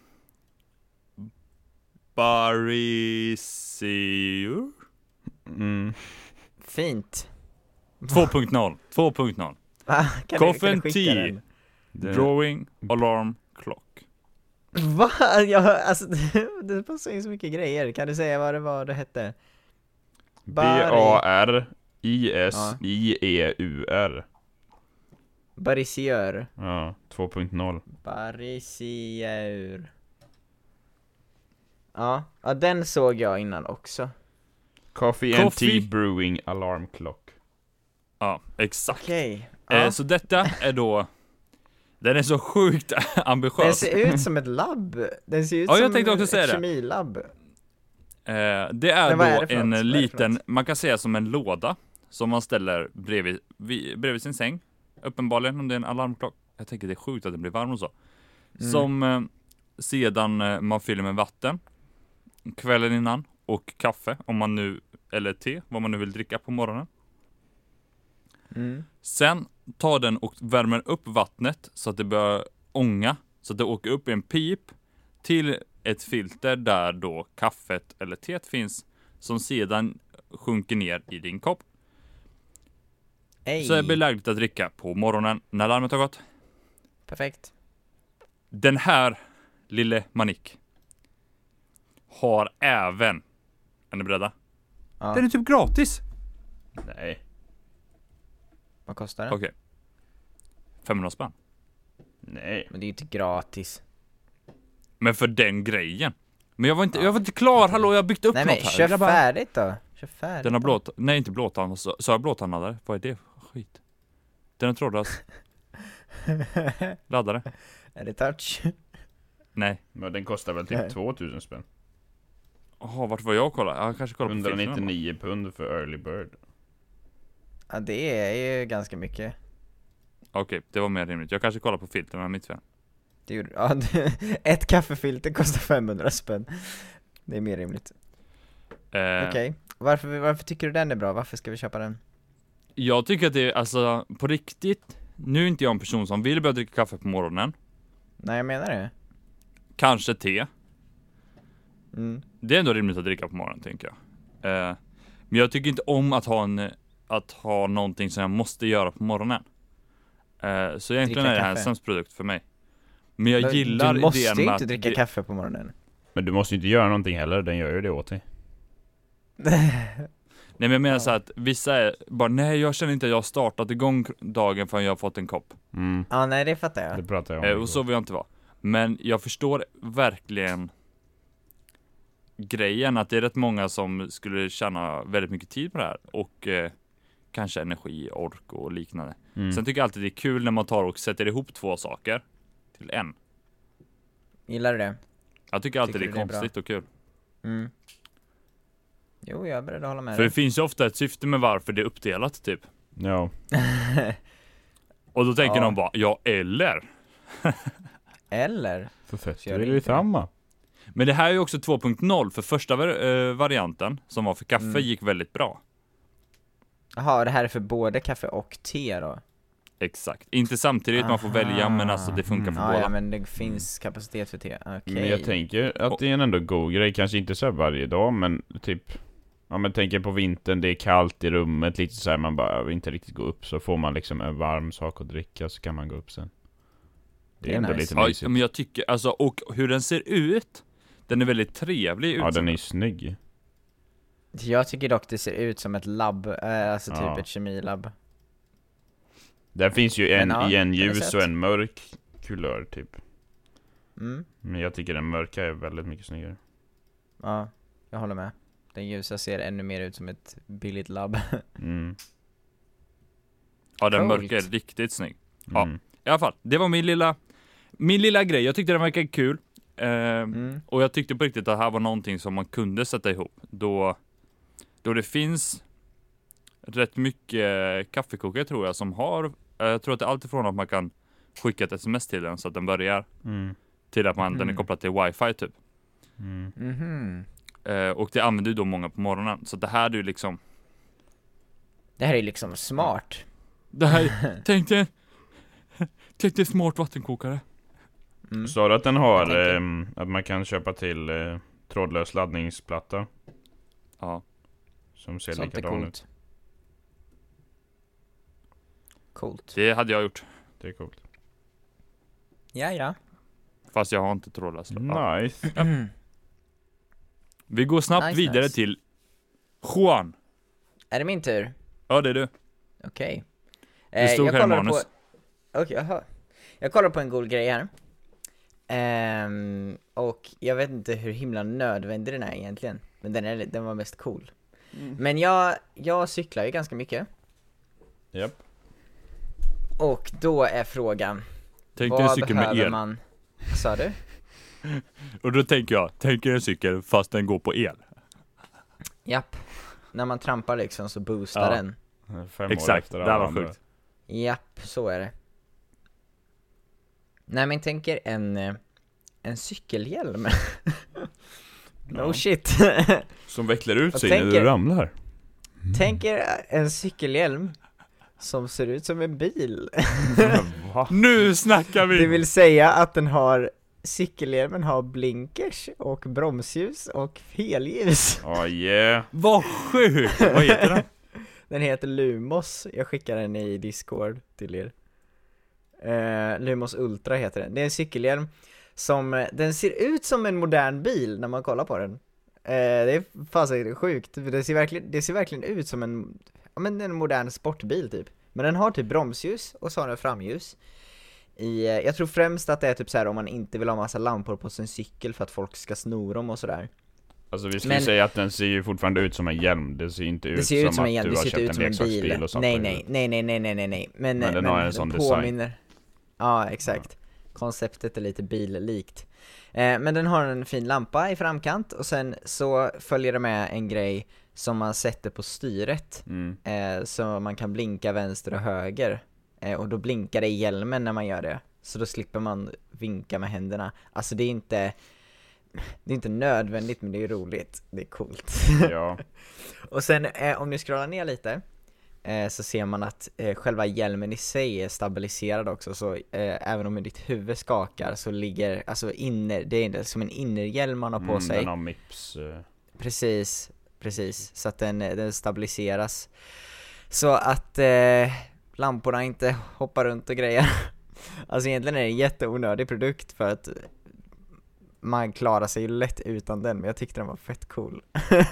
[SPEAKER 3] Barisiur?
[SPEAKER 2] Mm.
[SPEAKER 1] Fint.
[SPEAKER 3] 2.0. 2.0.
[SPEAKER 1] Va? Kan du- kan du
[SPEAKER 3] Coffin
[SPEAKER 1] skicka
[SPEAKER 3] tea.
[SPEAKER 1] den?
[SPEAKER 2] Det-
[SPEAKER 3] Drawing alarm clock.
[SPEAKER 1] Va? Jag, hör- alltså, det passar in så mycket grejer. Kan du säga vad det var det hette?
[SPEAKER 2] E B-A-R-I-S-I-E-U-R.
[SPEAKER 1] Barisiör.
[SPEAKER 2] Ja, 2.0.
[SPEAKER 1] Barisiör. Ja. ja, den såg jag innan också.
[SPEAKER 2] Coffee and
[SPEAKER 3] Coffee.
[SPEAKER 2] Tea Brewing Alarm Clock.
[SPEAKER 3] Ja, exakt.
[SPEAKER 1] Okej.
[SPEAKER 3] Eh,
[SPEAKER 1] Ja.
[SPEAKER 3] så detta är då... Den är så sjukt
[SPEAKER 1] Den
[SPEAKER 3] ambitiös.
[SPEAKER 1] ser ut som ett labb. Den ser ut
[SPEAKER 3] Ja,
[SPEAKER 1] som
[SPEAKER 3] jag tänkte också
[SPEAKER 1] ett
[SPEAKER 3] säga det.
[SPEAKER 1] kemilabb.
[SPEAKER 3] Eh, det är
[SPEAKER 1] Men
[SPEAKER 3] då
[SPEAKER 1] vad är det för något?
[SPEAKER 3] en
[SPEAKER 1] Vad är det för
[SPEAKER 3] liten,
[SPEAKER 1] något?
[SPEAKER 3] man kan säga som en låda, som man ställer bredvid, vid, bredvid sin säng. Uppenbarligen om det är en alarmklocka. Jag tänker det är sjukt att den blir varm och så.
[SPEAKER 1] Mm.
[SPEAKER 3] Som eh, sedan eh, man fyller med vatten kvällen innan och kaffe om man nu, eller te, vad man nu vill dricka på morgonen.
[SPEAKER 1] Mm.
[SPEAKER 3] Sen tar den och värmer upp vattnet så att det börjar ånga, så att det åker upp i en pip till ett filter där då kaffet eller teet finns som sedan sjunker ner i din kopp.
[SPEAKER 1] Ey.
[SPEAKER 3] Så är det belagligt att dricka på morgonen när larmet har gått.
[SPEAKER 1] Perfekt.
[SPEAKER 3] Den här lille manik har även, är ni beredda?
[SPEAKER 1] Ja.
[SPEAKER 3] Den är typ gratis!
[SPEAKER 2] Nej.
[SPEAKER 1] Vad kostar den?
[SPEAKER 3] Okej. 500 spänn.
[SPEAKER 2] Nej.
[SPEAKER 1] Men det är ju inte gratis.
[SPEAKER 3] Men för den grejen. Men jag var inte, jag var inte klar, hallå jag har byggt upp
[SPEAKER 1] Nej
[SPEAKER 3] något
[SPEAKER 1] men
[SPEAKER 3] här.
[SPEAKER 1] kör
[SPEAKER 3] grabbar.
[SPEAKER 1] färdigt då. Kör färdigt.
[SPEAKER 3] Den har
[SPEAKER 1] då.
[SPEAKER 3] blåt... Nej inte blåtand, sa sa jag blåtandade? Vad är det för skit? Den har trådlös laddare?
[SPEAKER 1] Är det touch?
[SPEAKER 3] Nej.
[SPEAKER 2] Men den kostar väl
[SPEAKER 1] Nej.
[SPEAKER 2] typ 2000 spänn?
[SPEAKER 3] Jaha, vart var jag och kollade? Jag kanske kollade på filmerna. bara.
[SPEAKER 2] 199 pund för early bird.
[SPEAKER 1] Ja, det är ju ganska mycket.
[SPEAKER 3] Okej, det var mer rimligt. Jag kanske kollar på filterna, mitt fel.
[SPEAKER 1] Det gjorde, ja, det- ett kaffefilter kostar 500 spänn. Det är mer rimligt.
[SPEAKER 3] Eh,
[SPEAKER 1] Okej, varför, varför tycker du den är bra? Varför ska vi köpa den?
[SPEAKER 3] Jag tycker att det är, alltså på riktigt, nu är inte jag en person som vill börja dricka kaffe på morgonen,
[SPEAKER 1] Nej, jag menar det.
[SPEAKER 3] kanske te.
[SPEAKER 1] Mm.
[SPEAKER 3] Det är ändå rimligt att dricka på morgonen tänker jag. Eh, men jag tycker inte om att ha en, att ha någonting som jag måste göra på morgonen. Eh, så egentligen är det här en
[SPEAKER 1] kaffe.
[SPEAKER 3] sämst produkt för mig. Men jag
[SPEAKER 1] Men
[SPEAKER 3] gillar
[SPEAKER 1] du måste
[SPEAKER 3] idén
[SPEAKER 1] ju
[SPEAKER 3] med
[SPEAKER 1] inte
[SPEAKER 3] att
[SPEAKER 1] dricka
[SPEAKER 3] det-
[SPEAKER 1] kaffe på morgonen.
[SPEAKER 2] Men du måste ju inte göra någonting heller, den gör ju det åt dig.
[SPEAKER 3] Nej men jag menar så att vissa är bara nej jag känner inte att jag har startat igång dagen förrän jag har fått en kopp.
[SPEAKER 2] Mm,
[SPEAKER 1] Ja, nej det fattar jag.
[SPEAKER 2] det pratade jag om.
[SPEAKER 3] Eh, och så vill jag inte vara. Men jag förstår verkligen grejen att det är rätt många som skulle tjäna väldigt mycket tid på det här och eh, kanske energi, ork och liknande.
[SPEAKER 2] Mm.
[SPEAKER 3] Sen tycker jag alltid det är kul när man tar och sätter ihop två saker till en.
[SPEAKER 1] Gillar du det?
[SPEAKER 3] Jag tycker alltid
[SPEAKER 1] Tycker du
[SPEAKER 3] det är
[SPEAKER 1] det är bra?
[SPEAKER 3] konstigt och kul.
[SPEAKER 1] Mm. Jo, jag är beredd att hålla med
[SPEAKER 3] För det
[SPEAKER 1] dig.
[SPEAKER 3] finns ju ofta ett syfte med varför det är uppdelat typ.
[SPEAKER 2] Ja.
[SPEAKER 3] Och då tänker
[SPEAKER 1] Ja.
[SPEAKER 3] de bara ja eller.
[SPEAKER 1] Eller?
[SPEAKER 2] För fett,
[SPEAKER 1] Gör
[SPEAKER 2] det är
[SPEAKER 1] det
[SPEAKER 2] ju
[SPEAKER 1] inte.
[SPEAKER 2] samma.
[SPEAKER 3] Men det här är ju också 2.0 för första var- eh, varianten som var för kaffe
[SPEAKER 1] Mm.
[SPEAKER 3] gick väldigt bra.
[SPEAKER 1] Jaha, det här är för både kaffe och te
[SPEAKER 3] Mm.
[SPEAKER 1] då?
[SPEAKER 3] Exakt. Inte samtidigt man får välja men alltså det funkar
[SPEAKER 2] Mm.
[SPEAKER 3] för
[SPEAKER 1] Ja,
[SPEAKER 3] båda.
[SPEAKER 1] ja, men det finns kapacitet för te. Okej.
[SPEAKER 2] Men jag tänker att det är en ändå god grej, kanske inte så här varje dag men typ Ja men tänker på vintern, det är kallt i rummet lite så här, man bara jag vill inte riktigt gå upp så får man liksom en varm sak att dricka så kan man gå upp sen Det är,
[SPEAKER 1] Det är
[SPEAKER 2] ändå
[SPEAKER 1] nice.
[SPEAKER 2] lite
[SPEAKER 3] Ja,
[SPEAKER 2] mysigt
[SPEAKER 3] men jag tycker alltså och hur den ser ut. Den är väldigt trevlig
[SPEAKER 2] Ja
[SPEAKER 3] ut.
[SPEAKER 2] den är ju snygg
[SPEAKER 1] Jag tycker dock det ser ut som ett labb, eh, alltså typ
[SPEAKER 2] Ja.
[SPEAKER 1] ett kemilabb.
[SPEAKER 2] Där finns ju en
[SPEAKER 1] Men ja,
[SPEAKER 2] i en
[SPEAKER 1] den är
[SPEAKER 2] ljus
[SPEAKER 1] söt.
[SPEAKER 2] och en mörk kulör typ
[SPEAKER 1] Mm,
[SPEAKER 2] Men jag tycker den mörka är väldigt mycket snyggare
[SPEAKER 1] ja, jag håller med. Den ljusa ser ännu mer ut som ett billigt labb.
[SPEAKER 2] mm.
[SPEAKER 3] Ja, den
[SPEAKER 1] Coolt.
[SPEAKER 3] mörka är riktigt snygg. Ja.
[SPEAKER 2] Mm.
[SPEAKER 3] I alla fall, det var min lilla, min lilla grej. Jag tyckte den verkade kul. Eh,
[SPEAKER 1] Mm.
[SPEAKER 3] Och jag tyckte på riktigt att det här var någonting som man kunde sätta ihop. Då, då det finns rätt mycket kaffekokare tror jag som har, eh, jag tror att det är alltifrån att man kan skicka ett sms till den så att den börjar,
[SPEAKER 2] Mm.
[SPEAKER 3] till att man, den är
[SPEAKER 1] Mm.
[SPEAKER 3] kopplad till wifi typ.
[SPEAKER 2] Mm.
[SPEAKER 1] Mhm.
[SPEAKER 3] Eh, och det använder ju då många på morgonen. Så det här är ju liksom,
[SPEAKER 1] Det här är liksom smart.
[SPEAKER 3] det här, tänk dig, tänk dig smart vattenkokare.
[SPEAKER 1] Mm.
[SPEAKER 2] Sa du att den har,
[SPEAKER 1] tänker-
[SPEAKER 2] ehm, att man kan köpa till eh, trådlös laddningsplatta?
[SPEAKER 3] Ja.
[SPEAKER 2] Som ser
[SPEAKER 1] Sånt är
[SPEAKER 2] likadan ut,
[SPEAKER 1] coolt. Coolt.
[SPEAKER 3] Det hade jag gjort,
[SPEAKER 2] det är coolt
[SPEAKER 1] Ja, ja.
[SPEAKER 3] fast jag har inte trådlös.
[SPEAKER 1] Mm.
[SPEAKER 3] Ja.
[SPEAKER 2] Nice.
[SPEAKER 3] Vi går snabbt
[SPEAKER 1] Nice,
[SPEAKER 3] vidare
[SPEAKER 1] nice.
[SPEAKER 3] till Juan.
[SPEAKER 1] Är det min tur?
[SPEAKER 3] Ja, det är du.
[SPEAKER 1] Okej. Eh,
[SPEAKER 3] Det stod
[SPEAKER 1] jag
[SPEAKER 3] här i
[SPEAKER 1] kollar
[SPEAKER 3] manus.
[SPEAKER 1] På... Okej, jaha. Jag kollar på en god grej här. Ehm, och jag vet inte hur himla nödvändig den är egentligen. Men den, är, den var mest cool. Men jag, jag cyklar ju ganska mycket.
[SPEAKER 2] Japp.
[SPEAKER 1] Och då är frågan,
[SPEAKER 3] Tänk dig en
[SPEAKER 1] vad
[SPEAKER 3] cykel med
[SPEAKER 1] behöver
[SPEAKER 3] el.
[SPEAKER 1] man? Sa du?
[SPEAKER 3] Och då tänker jag, tänk er en cykel fast den går på el.
[SPEAKER 1] Japp. När man trampar liksom så boostar
[SPEAKER 3] Ja.
[SPEAKER 1] den.
[SPEAKER 2] Fem år
[SPEAKER 3] Exakt,
[SPEAKER 2] efter
[SPEAKER 3] det
[SPEAKER 2] alla
[SPEAKER 3] här var
[SPEAKER 2] andra.
[SPEAKER 3] sjukt.
[SPEAKER 1] Japp, så är det. Nej men tänker en, eh, en cykelhjälm. no
[SPEAKER 2] Ja.
[SPEAKER 1] shit.
[SPEAKER 2] Som vecklar ut
[SPEAKER 1] Jag
[SPEAKER 2] sig när
[SPEAKER 1] tänker-
[SPEAKER 2] du ramlar.
[SPEAKER 1] tänker en cykelhjälm som ser ut som en bil.
[SPEAKER 2] Va?
[SPEAKER 3] Nu snackar vi!
[SPEAKER 1] Det vill säga att den har, cykelhjälmen har blinkers och bromsljus och helljus.
[SPEAKER 2] Ja, yeah.
[SPEAKER 3] Vad sjukt! Vad heter den?
[SPEAKER 1] Den heter Lumos, jag skickar den i discord till er Eh, Lumos Ultra heter den, det är en cykelhjälm som, eh, den ser ut som en modern bil när man kollar på den Eh, Det är fasen sjukt, för det ser, verkligen, det ser verkligen ut som en, ja men en modern sportbil typ Men den har typ bromsljus och så har den framljus i, eh, jag tror främst att det är typ så här om man inte vill ha massa lampor på sin cykel för att folk ska sno dem och sådär
[SPEAKER 2] Alltså vi ska
[SPEAKER 1] Men-
[SPEAKER 2] ju säga att den ser ju fortfarande ut som en hjälm. Det ser ju inte ut,
[SPEAKER 1] Det ser ju ut som
[SPEAKER 2] att
[SPEAKER 1] en hjälm,
[SPEAKER 2] du
[SPEAKER 1] det
[SPEAKER 2] har
[SPEAKER 1] ser
[SPEAKER 2] köpt
[SPEAKER 1] inte ut som en
[SPEAKER 2] leksaksbil
[SPEAKER 1] bil.
[SPEAKER 2] och satt
[SPEAKER 1] Nej
[SPEAKER 2] på
[SPEAKER 1] nej,
[SPEAKER 2] huvudet.
[SPEAKER 1] nej nej nej nej nej nej. Men,
[SPEAKER 2] Men den har en sån design.
[SPEAKER 1] Ja exakt. Konceptet är lite billikt. Eh, men den har en fin lampa i framkant och sen så följer det med en grej som man sätter på styret.
[SPEAKER 2] Mm.
[SPEAKER 1] Eh, så man kan blinka vänster och höger. Eh, och då blinkar det i hjälmen när man gör det. Så då slipper man vinka med händerna. Alltså det är inte, det är inte nödvändigt men det är roligt. Det är coolt.
[SPEAKER 2] Ja.
[SPEAKER 1] Och sen eh, om ni scrollar ner lite eh, så ser man att eh, själva hjälmen i sig är stabiliserad också så eh, även om ditt huvud skakar så ligger, alltså inner, det är som en innerhjälm man har på
[SPEAKER 2] Mm,
[SPEAKER 1] sig.
[SPEAKER 2] Den har Mips. eh,
[SPEAKER 1] Precis, precis. Så att den, eh, den stabiliseras. Så att eh, lamporna inte hoppar runt och grejer. Alltså egentligen är det en jätteonödig produkt för att man klarar sig ju lätt utan den, men jag tyckte den var fett cool.
[SPEAKER 2] Ja.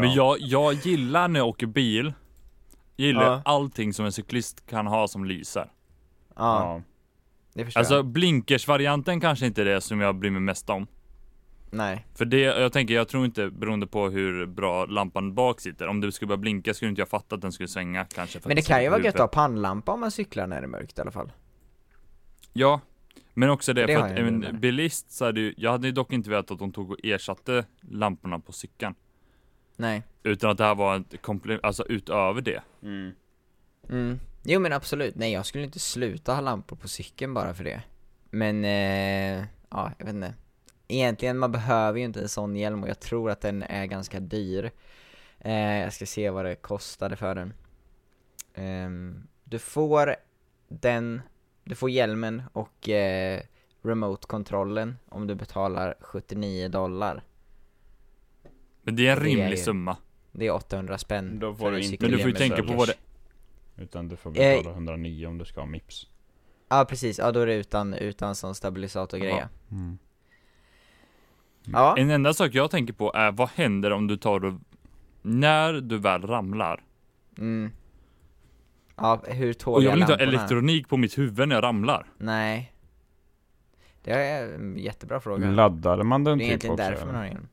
[SPEAKER 3] Men jag, jag gillar när jag åker bil, gillar
[SPEAKER 1] Ja.
[SPEAKER 3] allting som en cyklist kan ha som lyser.
[SPEAKER 1] Ja,
[SPEAKER 2] ja.
[SPEAKER 1] det förstår
[SPEAKER 3] Alltså
[SPEAKER 1] jag.
[SPEAKER 3] blinkersvarianten kanske inte är det som jag bryr mig mest om.
[SPEAKER 1] Nej.
[SPEAKER 3] För det, jag tänker, jag tror inte, beroende på hur bra lampan bak sitter, om du skulle börja blinka skulle inte jag fatta att den skulle svänga kanske. för
[SPEAKER 1] Men det
[SPEAKER 3] att
[SPEAKER 1] kan
[SPEAKER 3] sitter
[SPEAKER 1] ju
[SPEAKER 3] på
[SPEAKER 1] vara gött att
[SPEAKER 3] huvudet.
[SPEAKER 1] ha pannlampa om man cyklar när det är mörkt i alla fall.
[SPEAKER 3] Ja, men också det,
[SPEAKER 1] Det
[SPEAKER 3] för
[SPEAKER 1] har
[SPEAKER 3] att
[SPEAKER 1] jag
[SPEAKER 3] en
[SPEAKER 1] med.
[SPEAKER 3] bilist så hade ju, jag hade ju dock inte velat att de tog och ersatte lamporna på cykeln.
[SPEAKER 1] Nej.
[SPEAKER 3] Utan att det här var ett komplement, alltså utöver det.
[SPEAKER 2] Mm.
[SPEAKER 1] Mm. Jo men absolut, nej jag skulle inte sluta ha lampor på cykeln bara för det. Men, eh, ja jag vet inte. Egentligen, man behöver ju inte en sån hjälm och jag tror att den är ganska dyr. Eh, jag ska se vad det kostade för den. Ehm, du får den, du får hjälmen och eh, remote-kontrollen om du betalar 79 dollar.
[SPEAKER 3] Men det är en
[SPEAKER 1] Det är
[SPEAKER 3] rimlig
[SPEAKER 1] ju-
[SPEAKER 3] summa.
[SPEAKER 1] Det är 800 spänn.
[SPEAKER 2] Då får
[SPEAKER 1] för
[SPEAKER 2] du
[SPEAKER 1] en
[SPEAKER 2] inte
[SPEAKER 3] Men du får ju
[SPEAKER 1] cykelhjälm med
[SPEAKER 3] tänka på
[SPEAKER 1] cykel.
[SPEAKER 3] vad det,
[SPEAKER 2] Utan du får
[SPEAKER 1] Eh.
[SPEAKER 2] betala 109 om du ska ha Mips.
[SPEAKER 1] Ja precis, ja då är det utan, utan sån stabilisator grej.
[SPEAKER 3] Ja.
[SPEAKER 2] Mm.
[SPEAKER 1] Ja.
[SPEAKER 3] en enda sak jag tänker på är vad händer om du tar och, när du väl ramlar?
[SPEAKER 1] Mm. Ja, hur
[SPEAKER 3] Och
[SPEAKER 1] tåliga
[SPEAKER 3] jag vill inte ha
[SPEAKER 1] lamporna?
[SPEAKER 3] elektronik på mitt huvud när jag ramlar.
[SPEAKER 1] Nej. Det är en jättebra fråga.
[SPEAKER 2] Laddade man
[SPEAKER 1] det
[SPEAKER 2] den
[SPEAKER 1] är
[SPEAKER 2] typ
[SPEAKER 1] egentligen
[SPEAKER 2] också?
[SPEAKER 1] därför man
[SPEAKER 2] eller?
[SPEAKER 1] har en.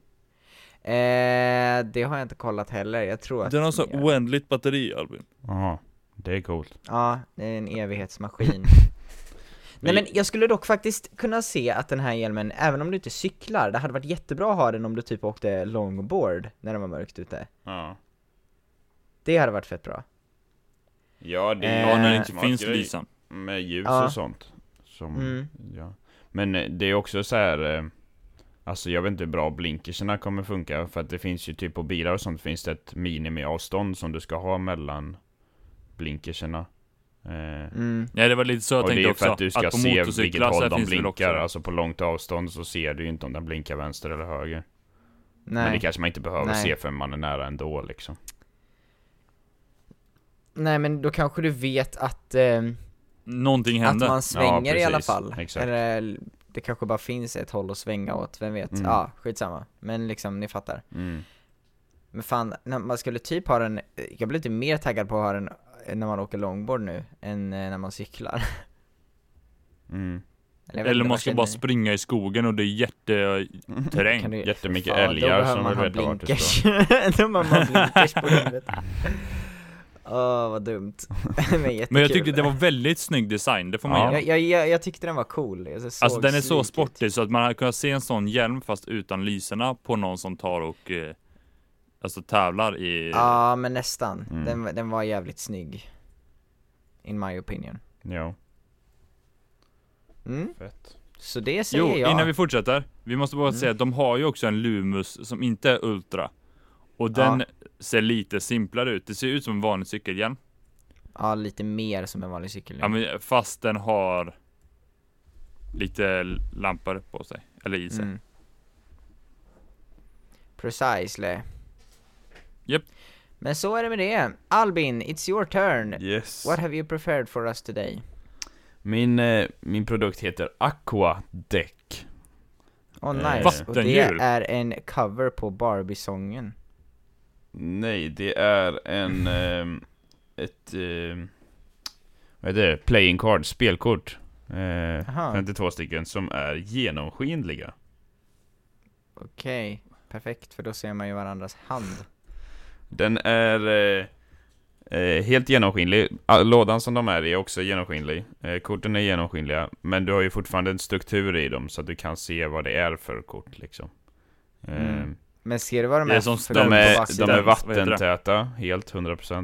[SPEAKER 1] Eh, det har jag inte kollat heller, jag tror att... ja.
[SPEAKER 3] oändligt batteri Albin.
[SPEAKER 2] Jaha, det är coolt.
[SPEAKER 1] Ja, det är en evighetsmaskin. Nej men jag skulle dock faktiskt kunna se att den här hjälmen, även om du inte cyklar, det hade varit jättebra att ha den om du typ åkte longboard när det var mörkt ute.
[SPEAKER 2] Ja.
[SPEAKER 1] Det hade varit fett bra.
[SPEAKER 2] Ja, det
[SPEAKER 1] Eh.
[SPEAKER 2] är
[SPEAKER 3] Ja, när det
[SPEAKER 2] en
[SPEAKER 3] inte
[SPEAKER 2] smart
[SPEAKER 3] finns
[SPEAKER 2] grej
[SPEAKER 3] lysen.
[SPEAKER 2] Med ljus
[SPEAKER 1] Ja.
[SPEAKER 2] och sånt. Som,
[SPEAKER 1] Mm.
[SPEAKER 2] ja. Men eh, det är också så här. eh, Alltså jag vet inte hur bra blinkerserna kommer funka. För att det finns ju typ på bilar och sånt finns det ett minimiavstånd som du ska ha mellan blinkerserna. Eh,
[SPEAKER 1] Mm.
[SPEAKER 3] Nej det var lite så jag
[SPEAKER 2] och det är
[SPEAKER 3] tänkte
[SPEAKER 2] ju
[SPEAKER 3] också.
[SPEAKER 2] för att du ska
[SPEAKER 3] på
[SPEAKER 2] se vilket
[SPEAKER 3] motorcyklar så
[SPEAKER 2] håll
[SPEAKER 3] här
[SPEAKER 2] de
[SPEAKER 3] finns det väl
[SPEAKER 2] blinkar.
[SPEAKER 3] också-
[SPEAKER 2] Alltså på långt avstånd så ser du ju inte om den blinkar vänster eller höger. Men det
[SPEAKER 1] Nej.
[SPEAKER 2] kanske man inte behöver
[SPEAKER 1] Nej.
[SPEAKER 2] se förrän man är nära ändå liksom.
[SPEAKER 1] Nej men då kanske du vet att... ehm,
[SPEAKER 3] Någonting hände.
[SPEAKER 1] Att man svänger i alla
[SPEAKER 2] precis.
[SPEAKER 1] fall.
[SPEAKER 2] Exakt.
[SPEAKER 1] Eller det kanske bara finns ett håll att svänga åt, vem vet?
[SPEAKER 2] Mm.
[SPEAKER 1] Ja, skitsamma. Men liksom, ni fattar.
[SPEAKER 2] Mm.
[SPEAKER 1] Men fan, när man skulle typ ha den, jag blir lite mer taggad på att ha den när man åker longboard nu, än eh, när man cyklar.
[SPEAKER 2] Mm.
[SPEAKER 1] jag vet
[SPEAKER 3] Eller
[SPEAKER 1] inte,
[SPEAKER 3] man
[SPEAKER 1] vad
[SPEAKER 3] ska
[SPEAKER 1] känner
[SPEAKER 3] bara
[SPEAKER 1] ni?
[SPEAKER 3] springa i skogen och det är
[SPEAKER 1] Kan
[SPEAKER 3] jätteterräng.
[SPEAKER 1] du-
[SPEAKER 2] Jättemycket
[SPEAKER 1] Fan,
[SPEAKER 2] älgar
[SPEAKER 1] då behöver
[SPEAKER 2] som
[SPEAKER 1] man
[SPEAKER 2] vill
[SPEAKER 1] ha
[SPEAKER 2] veta vart du
[SPEAKER 1] blinkers. Då behöver man ha blinkers på huvudet. Åh, vad dumt. Men,
[SPEAKER 3] Men jag
[SPEAKER 1] jättekul.
[SPEAKER 3] tyckte det var väldigt snygg design, det får man
[SPEAKER 2] Ja.
[SPEAKER 3] ge
[SPEAKER 1] jag, jag, jag, jag tyckte den var cool. Jag såg
[SPEAKER 3] Alltså den är så
[SPEAKER 1] sleek ut.
[SPEAKER 3] sportig så att man hade kunnat se en sån hjälm fast utan lyserna på någon som tar och eh, Alltså tävlar i
[SPEAKER 1] Ja, men nästan.
[SPEAKER 2] Mm.
[SPEAKER 1] Den, den var jävligt snygg. In my opinion.
[SPEAKER 2] Ja,
[SPEAKER 1] Mm.
[SPEAKER 2] fett.
[SPEAKER 1] Så det säger
[SPEAKER 3] Jo,
[SPEAKER 1] jag.
[SPEAKER 3] innan vi fortsätter Vi måste bara
[SPEAKER 1] Mm.
[SPEAKER 3] säga att de har ju också en Lumus som inte är Ultra Och den ser lite simplare ut, det ser ut som en vanlig cykelhjälm
[SPEAKER 1] Ja, lite mer som en vanlig cykel.
[SPEAKER 3] ja, men, Fast den har Lite lampor på sig, eller i sig
[SPEAKER 1] Mm. Precisely.
[SPEAKER 3] Japp.
[SPEAKER 1] Men så är det med det. Albin, it's your turn.
[SPEAKER 2] Yes.
[SPEAKER 1] What have you prepared for us today?
[SPEAKER 2] Min, eh, min produkt heter Aqua Deck.
[SPEAKER 1] Oh
[SPEAKER 2] Eh,
[SPEAKER 1] nice. Och det
[SPEAKER 3] vattendjur.
[SPEAKER 1] är en cover på Barbie-sången.
[SPEAKER 2] Nej, det är en... ehm, ett... ehm, vad heter det? Playing card, spelkort. Eh,
[SPEAKER 1] Aha.
[SPEAKER 2] 52 stycken som är genomskinliga.
[SPEAKER 1] Okej, perfekt för då ser man ju varandras hand.
[SPEAKER 2] Den är... Eh, Eh, helt genomskinlig. Ah, Lådan som de är i är också genomskinlig. Eh, korten är genomskinliga, men du har ju fortfarande en struktur i dem så att du kan se vad det är för kort liksom. Eh,
[SPEAKER 3] Mm.
[SPEAKER 1] Men ser du vad de
[SPEAKER 3] Det
[SPEAKER 1] är,
[SPEAKER 3] är som
[SPEAKER 1] för
[SPEAKER 2] De
[SPEAKER 1] på
[SPEAKER 2] är,
[SPEAKER 1] baksidan?
[SPEAKER 2] de är
[SPEAKER 3] Vad heter det?
[SPEAKER 2] vattentäta, helt 100%.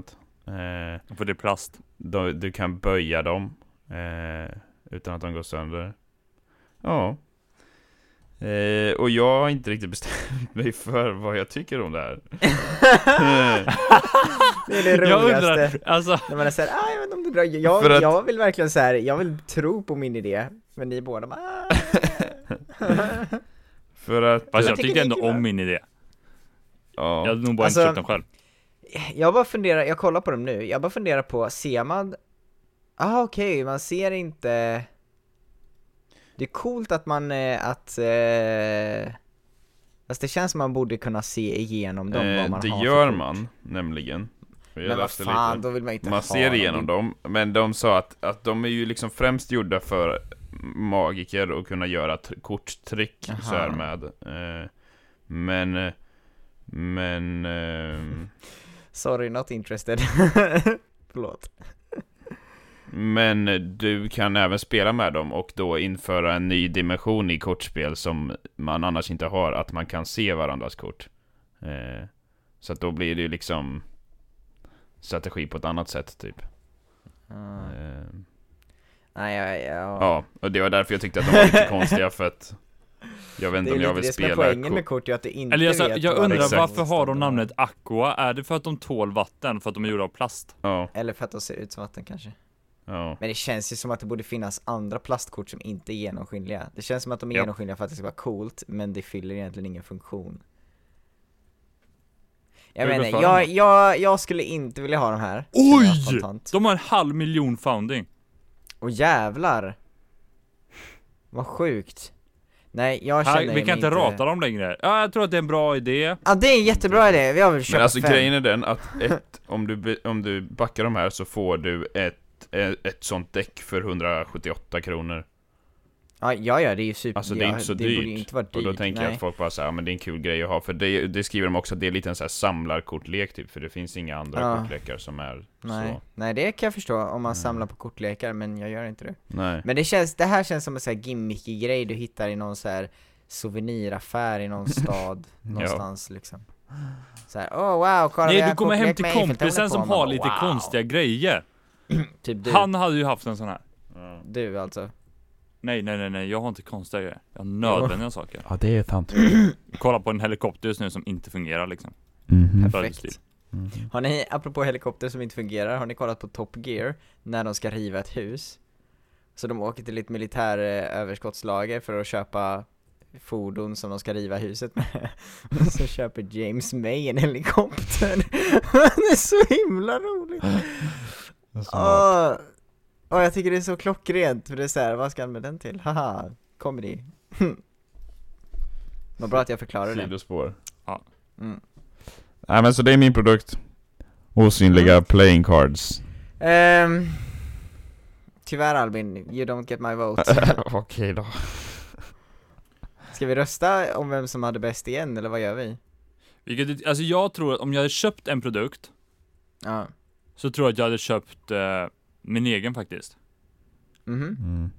[SPEAKER 2] Eh,
[SPEAKER 3] För det är plast.
[SPEAKER 2] de, du kan böja dem eh, utan att de går sönder. Ja. Eh, och jag har inte riktigt bestämt mig för vad jag tycker om det här. Eh,
[SPEAKER 1] Det är det
[SPEAKER 3] Jag
[SPEAKER 1] roligaste.
[SPEAKER 3] undrar, alltså.
[SPEAKER 1] När man är såhär, ah, jag vet inte om det är bra. Jag,
[SPEAKER 2] För att-
[SPEAKER 1] jag vill verkligen så här, jag vill tro på min idé. Men ni båda bara, ah.
[SPEAKER 2] för att...
[SPEAKER 3] Fast
[SPEAKER 1] tycker
[SPEAKER 3] jag tyckte
[SPEAKER 1] det är
[SPEAKER 3] ändå
[SPEAKER 1] kul.
[SPEAKER 3] om min idé.
[SPEAKER 2] Ja.
[SPEAKER 3] Jag hade nog bara
[SPEAKER 1] Alltså-
[SPEAKER 3] inte köpt den själv.
[SPEAKER 1] Jag bara funderar, jag kollar på dem nu, jag bara funderar på, ser man... Ah okej, man ser inte... Det är coolt att man, eh, att... Eh... Fast det känns som man borde kunna se igenom dem
[SPEAKER 2] Eh,
[SPEAKER 1] vad man
[SPEAKER 2] det
[SPEAKER 1] har för
[SPEAKER 2] gör
[SPEAKER 1] kort.
[SPEAKER 2] man nämligen. Jag
[SPEAKER 1] Men vad
[SPEAKER 2] läste
[SPEAKER 1] fan,
[SPEAKER 2] lite.
[SPEAKER 1] då vill man inte ha
[SPEAKER 2] Man ser
[SPEAKER 1] dem.
[SPEAKER 2] igenom dem, men de sa att, att de är ju liksom främst gjorda för magiker och kunna göra t- korttrick
[SPEAKER 1] Aha.
[SPEAKER 2] så här med. Eh, men... eh, Men... ehm,
[SPEAKER 1] Sorry, not interested. Förlåt.
[SPEAKER 2] Men du kan även spela med dem och då införa en ny dimension i kortspel som man annars inte har, att man kan se varandras kort. Eh, så att då blir det ju liksom strategi på ett annat sätt typ.
[SPEAKER 1] Ah,
[SPEAKER 2] Eh,
[SPEAKER 1] Nej, jag, jag...
[SPEAKER 2] ja, och det var därför jag tyckte att de var lite konstiga för att jag vet
[SPEAKER 1] Det
[SPEAKER 2] inte
[SPEAKER 1] är
[SPEAKER 2] om jag
[SPEAKER 1] lite
[SPEAKER 2] vill
[SPEAKER 1] det som är
[SPEAKER 2] spela
[SPEAKER 1] poängen
[SPEAKER 2] ko-
[SPEAKER 1] med kort, är att du inte
[SPEAKER 3] Eller jag, sa-
[SPEAKER 1] vet
[SPEAKER 3] jag
[SPEAKER 1] vad det
[SPEAKER 3] undrar
[SPEAKER 1] är för
[SPEAKER 2] Exakt.
[SPEAKER 3] varför har de
[SPEAKER 1] motståndare.
[SPEAKER 3] namnet Aqua? Är det för att de tål vatten? För att de är gjorda av plast?
[SPEAKER 2] Ja,
[SPEAKER 1] Eller för att de ser ut som vatten kanske.
[SPEAKER 2] ja.
[SPEAKER 1] Men det känns ju som att det borde finnas andra plastkort som inte är genomskinliga. Det känns som att de är
[SPEAKER 2] Ja.
[SPEAKER 1] genomskinliga för att det ska vara coolt, men det fyller egentligen ingen funktion. Jag
[SPEAKER 3] Vad är det
[SPEAKER 1] menar,
[SPEAKER 3] för
[SPEAKER 1] jag,
[SPEAKER 3] dem
[SPEAKER 1] jag, jag skulle inte vilja ha de här. känner jag spontant.
[SPEAKER 3] De har en halv miljon founding.
[SPEAKER 1] Och jävlar! Vad sjukt. Nej, jag känner
[SPEAKER 3] Här, vi
[SPEAKER 1] mig
[SPEAKER 3] kan inte rata dem längre. Ja, jag tror att det är en bra idé.
[SPEAKER 1] Ja, det är en jättebra idé, jag vill köpa
[SPEAKER 2] Men alltså
[SPEAKER 1] fem.
[SPEAKER 2] grejen är den att ett, om, du, be- om du backar de här så får du ett, ett, ett sånt däck för 178 kronor.
[SPEAKER 1] Ja, ja, ja, det är ju super...
[SPEAKER 2] Alltså det är
[SPEAKER 1] ja,
[SPEAKER 2] inte så
[SPEAKER 1] det
[SPEAKER 2] dyrt.
[SPEAKER 1] borde ju inte vara dyrt.
[SPEAKER 2] Och då tänker jag
[SPEAKER 1] nej.
[SPEAKER 2] att folk bara såhär, ja men det är en kul grej att ha. För det, det skriver de också, att det är lite en sån här samlarkortlek typ. För det finns inga andra
[SPEAKER 1] Ja.
[SPEAKER 2] kortlekar som är
[SPEAKER 1] Nej.
[SPEAKER 2] så. Mm.
[SPEAKER 1] nej, det kan jag förstå om man samlar på kortlekar, men jag gör inte det.
[SPEAKER 2] Nej.
[SPEAKER 1] Men det känns, det här känns som en sån här gimmicky grej du hittar i någon så här souveniraffär i någon stad någonstans liksom så här, åh wow, kolla vad
[SPEAKER 3] Nej,
[SPEAKER 1] jag
[SPEAKER 3] du
[SPEAKER 1] har
[SPEAKER 3] kommer hem
[SPEAKER 1] kokat
[SPEAKER 3] till
[SPEAKER 1] med
[SPEAKER 3] kompisen
[SPEAKER 1] Eiffeltornet på."
[SPEAKER 3] som
[SPEAKER 1] Man
[SPEAKER 3] har
[SPEAKER 1] bara,
[SPEAKER 3] lite
[SPEAKER 1] "Wow."
[SPEAKER 3] konstiga grejer.
[SPEAKER 1] Typ du,
[SPEAKER 3] Han hade ju haft en sån här.
[SPEAKER 1] du alltså
[SPEAKER 3] Nej, nej, nej, nej, jag har inte konstiga grejer. Jag har nödvändiga saker.
[SPEAKER 2] Ja det är sant.
[SPEAKER 3] Kolla på en helikopter just nu som inte fungerar liksom.
[SPEAKER 1] Perfekt
[SPEAKER 2] Mm-hmm.
[SPEAKER 1] Har ni, apropå helikopter som inte fungerar, har ni kollat på Top Gear? När de ska riva ett hus? Så de åker till ett militär eh, överskottslager för att köpa fordon som de ska riva huset med. Och så köper James May en helikopter. det är så himla roligt!
[SPEAKER 2] Mm-hmm.
[SPEAKER 1] Åh, åh, jag tycker det är så klockrent, för det är så här, vad ska han med den till? Haha, comedy. Vad bra att jag förklarar det.
[SPEAKER 2] Sidospår.
[SPEAKER 3] Ja.
[SPEAKER 1] Mm.
[SPEAKER 2] Nej men så det är min produkt. Osynliga playing cards.
[SPEAKER 1] Ehm, tyvärr Albin, you don't get my vote.
[SPEAKER 2] Okej då.
[SPEAKER 1] Ska vi rösta om vem som hade bäst igen, eller vad gör vi?
[SPEAKER 3] Vilket, alltså jag tror att om jag hade köpt en produkt
[SPEAKER 1] Ja.
[SPEAKER 3] så tror jag att jag hade köpt eh, min egen faktiskt.
[SPEAKER 1] Mhm.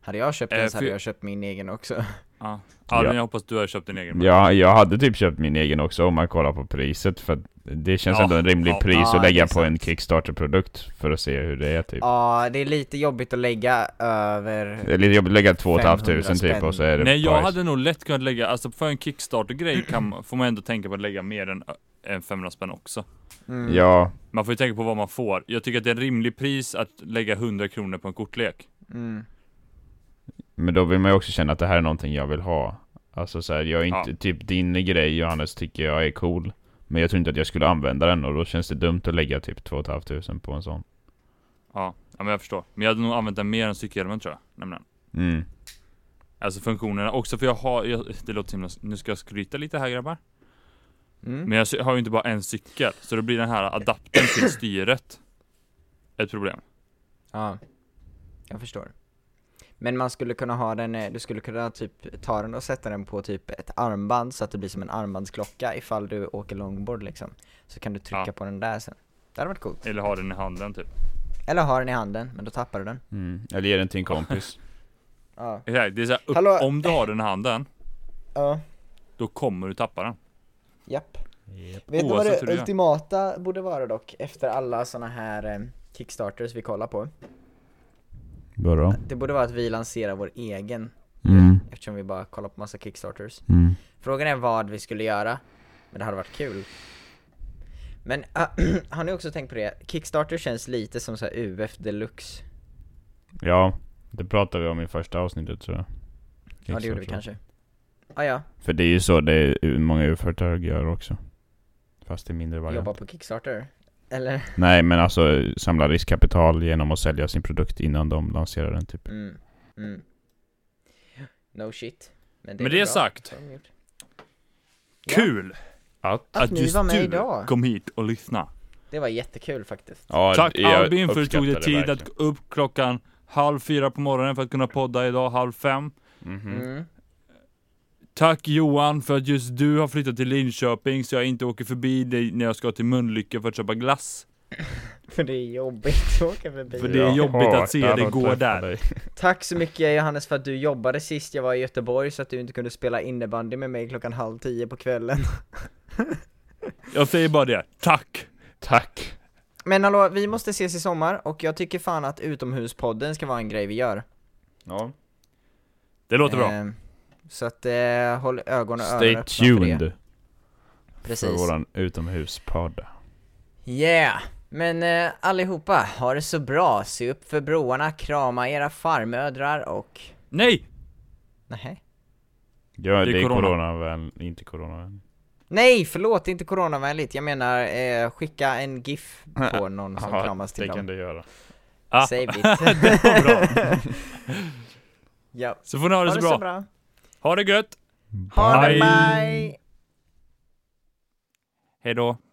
[SPEAKER 1] Hade jag köpt
[SPEAKER 3] Eh,
[SPEAKER 1] den så hade
[SPEAKER 3] för- Typ.
[SPEAKER 1] jag köpt min egen också.
[SPEAKER 3] Ja. Albin,
[SPEAKER 2] Ja.
[SPEAKER 3] jag hoppas du har köpt din egen.
[SPEAKER 2] Ja, jag hade typ köpt min egen också om man kollar på priset för att det känns
[SPEAKER 3] Ja,
[SPEAKER 2] ändå en rimlig
[SPEAKER 3] ja,
[SPEAKER 2] pris
[SPEAKER 1] ja,
[SPEAKER 2] att lägga
[SPEAKER 1] det är
[SPEAKER 2] på en
[SPEAKER 1] sant.
[SPEAKER 2] Kickstarter-produkt för att se hur det är typ.
[SPEAKER 1] Ja, det är lite jobbigt att lägga över...
[SPEAKER 2] Det är lite jobbigt att lägga 2 500
[SPEAKER 1] 500
[SPEAKER 2] typ och så är det
[SPEAKER 3] Nej, jag
[SPEAKER 2] price.
[SPEAKER 3] hade nog lätt kunnat lägga, alltså för en Kickstarter-grej kan, får man ändå tänka på att lägga mer än, eh, än 500 spänn också.
[SPEAKER 1] Mm.
[SPEAKER 2] Ja,
[SPEAKER 3] Man får ju tänka på vad man får. Jag tycker att det är en rimlig pris att lägga 100 kronor på en kortlek.
[SPEAKER 1] Mm.
[SPEAKER 2] men då vill man ju också känna att det här är någonting jag vill ha. Alltså så här, jag är inte, typ din grej Johannes tycker jag är cool. Men jag tror inte att jag skulle använda den och då känns det dumt att lägga typ 2 500 på en sån.
[SPEAKER 3] Ja, ja men jag förstår. Men jag hade nog använt den mer än cykelhjälmen tror jag, nämligen.
[SPEAKER 2] Mm.
[SPEAKER 3] Alltså funktionerna också, för jag har, jag, det låter så himla, nu ska jag skryta lite här grabbar.
[SPEAKER 1] Mm.
[SPEAKER 3] Men jag sy- har ju inte bara en cykel, så då blir den här adaptern till styret ett problem.
[SPEAKER 1] Ja. Jag förstår. Men man skulle kunna ha den, eh, du skulle kunna typ ta den och sätta den på typ ett armband så att det blir som en armbandsklocka ifall du åker longboard liksom. Så kan du trycka
[SPEAKER 3] Ja.
[SPEAKER 1] på den där sen. Det hade varit coolt.
[SPEAKER 3] Eller ha den i handen typ.
[SPEAKER 1] Eller har den i handen, men då tappar du den.
[SPEAKER 2] Mm. Eller ge den till en kompis.
[SPEAKER 1] Ja.
[SPEAKER 3] Exakt, det är så här, upp,
[SPEAKER 1] Hallå?
[SPEAKER 3] om du har den i handen,
[SPEAKER 1] Ja.
[SPEAKER 3] då kommer du tappa den.
[SPEAKER 1] Japp. Vet ni vad
[SPEAKER 3] Oavsett
[SPEAKER 1] det
[SPEAKER 3] hur du gör.
[SPEAKER 1] ultimata borde vara dock? Efter alla såna här eh, kickstarters vi kollar på.
[SPEAKER 2] Vadå?
[SPEAKER 1] Det borde vara att vi lanserar vår egen.
[SPEAKER 2] Mm.
[SPEAKER 1] Eftersom vi bara kollar på massa kickstarters.
[SPEAKER 2] Mm.
[SPEAKER 1] Frågan är vad vi skulle göra. Men det hade varit kul. Men ah, har ni också tänkt på det? Kickstarter känns lite som så här UF deluxe.
[SPEAKER 2] Ja, det pratade vi om i första avsnittet tror jag.
[SPEAKER 1] Ja det gjorde vi kanske. Ah, ja,
[SPEAKER 2] För det är ju så det är, många UF-företag gör också. Fast i mindre variant.
[SPEAKER 1] jobba på Kickstarter. Eller?
[SPEAKER 2] Nej men alltså samla riskkapital genom att sälja sin produkt innan de lanserar den typ.
[SPEAKER 1] Mm. Mm. No shit. Men
[SPEAKER 3] Med det
[SPEAKER 1] är bra.
[SPEAKER 3] sagt.
[SPEAKER 1] Det har de gjort. Ja.
[SPEAKER 3] Kul!
[SPEAKER 2] Att-
[SPEAKER 1] Att ni
[SPEAKER 3] just
[SPEAKER 1] var med
[SPEAKER 3] du
[SPEAKER 1] idag.
[SPEAKER 3] kom hit och lyssna.
[SPEAKER 1] Det var jättekul faktiskt.
[SPEAKER 2] Ja,
[SPEAKER 3] Tack
[SPEAKER 2] jag
[SPEAKER 3] Albin för att du tog dig
[SPEAKER 2] uppskattar
[SPEAKER 3] tid
[SPEAKER 2] det
[SPEAKER 3] att gå upp klockan halv fyra på morgonen för att kunna podda idag halv fem.
[SPEAKER 2] verkligen. Mhm.
[SPEAKER 1] Mm.
[SPEAKER 3] Tack Johan för att just du har flyttat till Linköping så jag inte åker förbi dig när jag ska till Mölnlycke för att köpa glass.
[SPEAKER 1] För det är jobbigt att åka förbi.
[SPEAKER 3] För det är
[SPEAKER 2] Jag
[SPEAKER 3] jobbigt att se
[SPEAKER 2] hatar
[SPEAKER 3] dig gå
[SPEAKER 2] träffa
[SPEAKER 3] där.
[SPEAKER 2] dig.
[SPEAKER 1] Tack så mycket Johannes för att du jobbade sist jag var i Göteborg så att du inte kunde spela innebandy med mig klockan halv tio på kvällen.
[SPEAKER 3] Jag säger bara det, tack!
[SPEAKER 2] Tack!
[SPEAKER 1] Men hallå, vi måste ses i sommar och jag tycker fan att utomhuspodden ska vara en grej vi gör.
[SPEAKER 2] Ja.
[SPEAKER 3] Det låter bra.
[SPEAKER 1] Ehm, Så att eh, håll ögon och öron
[SPEAKER 2] Stay
[SPEAKER 1] öppna för det.
[SPEAKER 2] tuned för
[SPEAKER 1] Precis.
[SPEAKER 2] våran utomhuspodd.
[SPEAKER 1] Yeah! Men eh, allihopa, ha det så bra, se upp för broarna, krama era farmödrar och...
[SPEAKER 3] Nej!
[SPEAKER 1] Nej.
[SPEAKER 2] Ja,
[SPEAKER 3] Det är
[SPEAKER 2] det är
[SPEAKER 3] corona.
[SPEAKER 2] coronavän, inte coronavän.
[SPEAKER 1] Nej, förlåt, inte coronavänligt. Jag menar, eh, skicka en GIF på någon som
[SPEAKER 2] Ja,
[SPEAKER 1] kramas till
[SPEAKER 2] det kan
[SPEAKER 1] dem.
[SPEAKER 2] du göra.
[SPEAKER 3] Ah.
[SPEAKER 1] Save it.
[SPEAKER 3] det var bra.
[SPEAKER 1] ja.
[SPEAKER 3] Så får ni ha det så bra. Ha det gött!
[SPEAKER 1] Ha det
[SPEAKER 3] Bye.
[SPEAKER 1] bye!
[SPEAKER 3] Hejdå!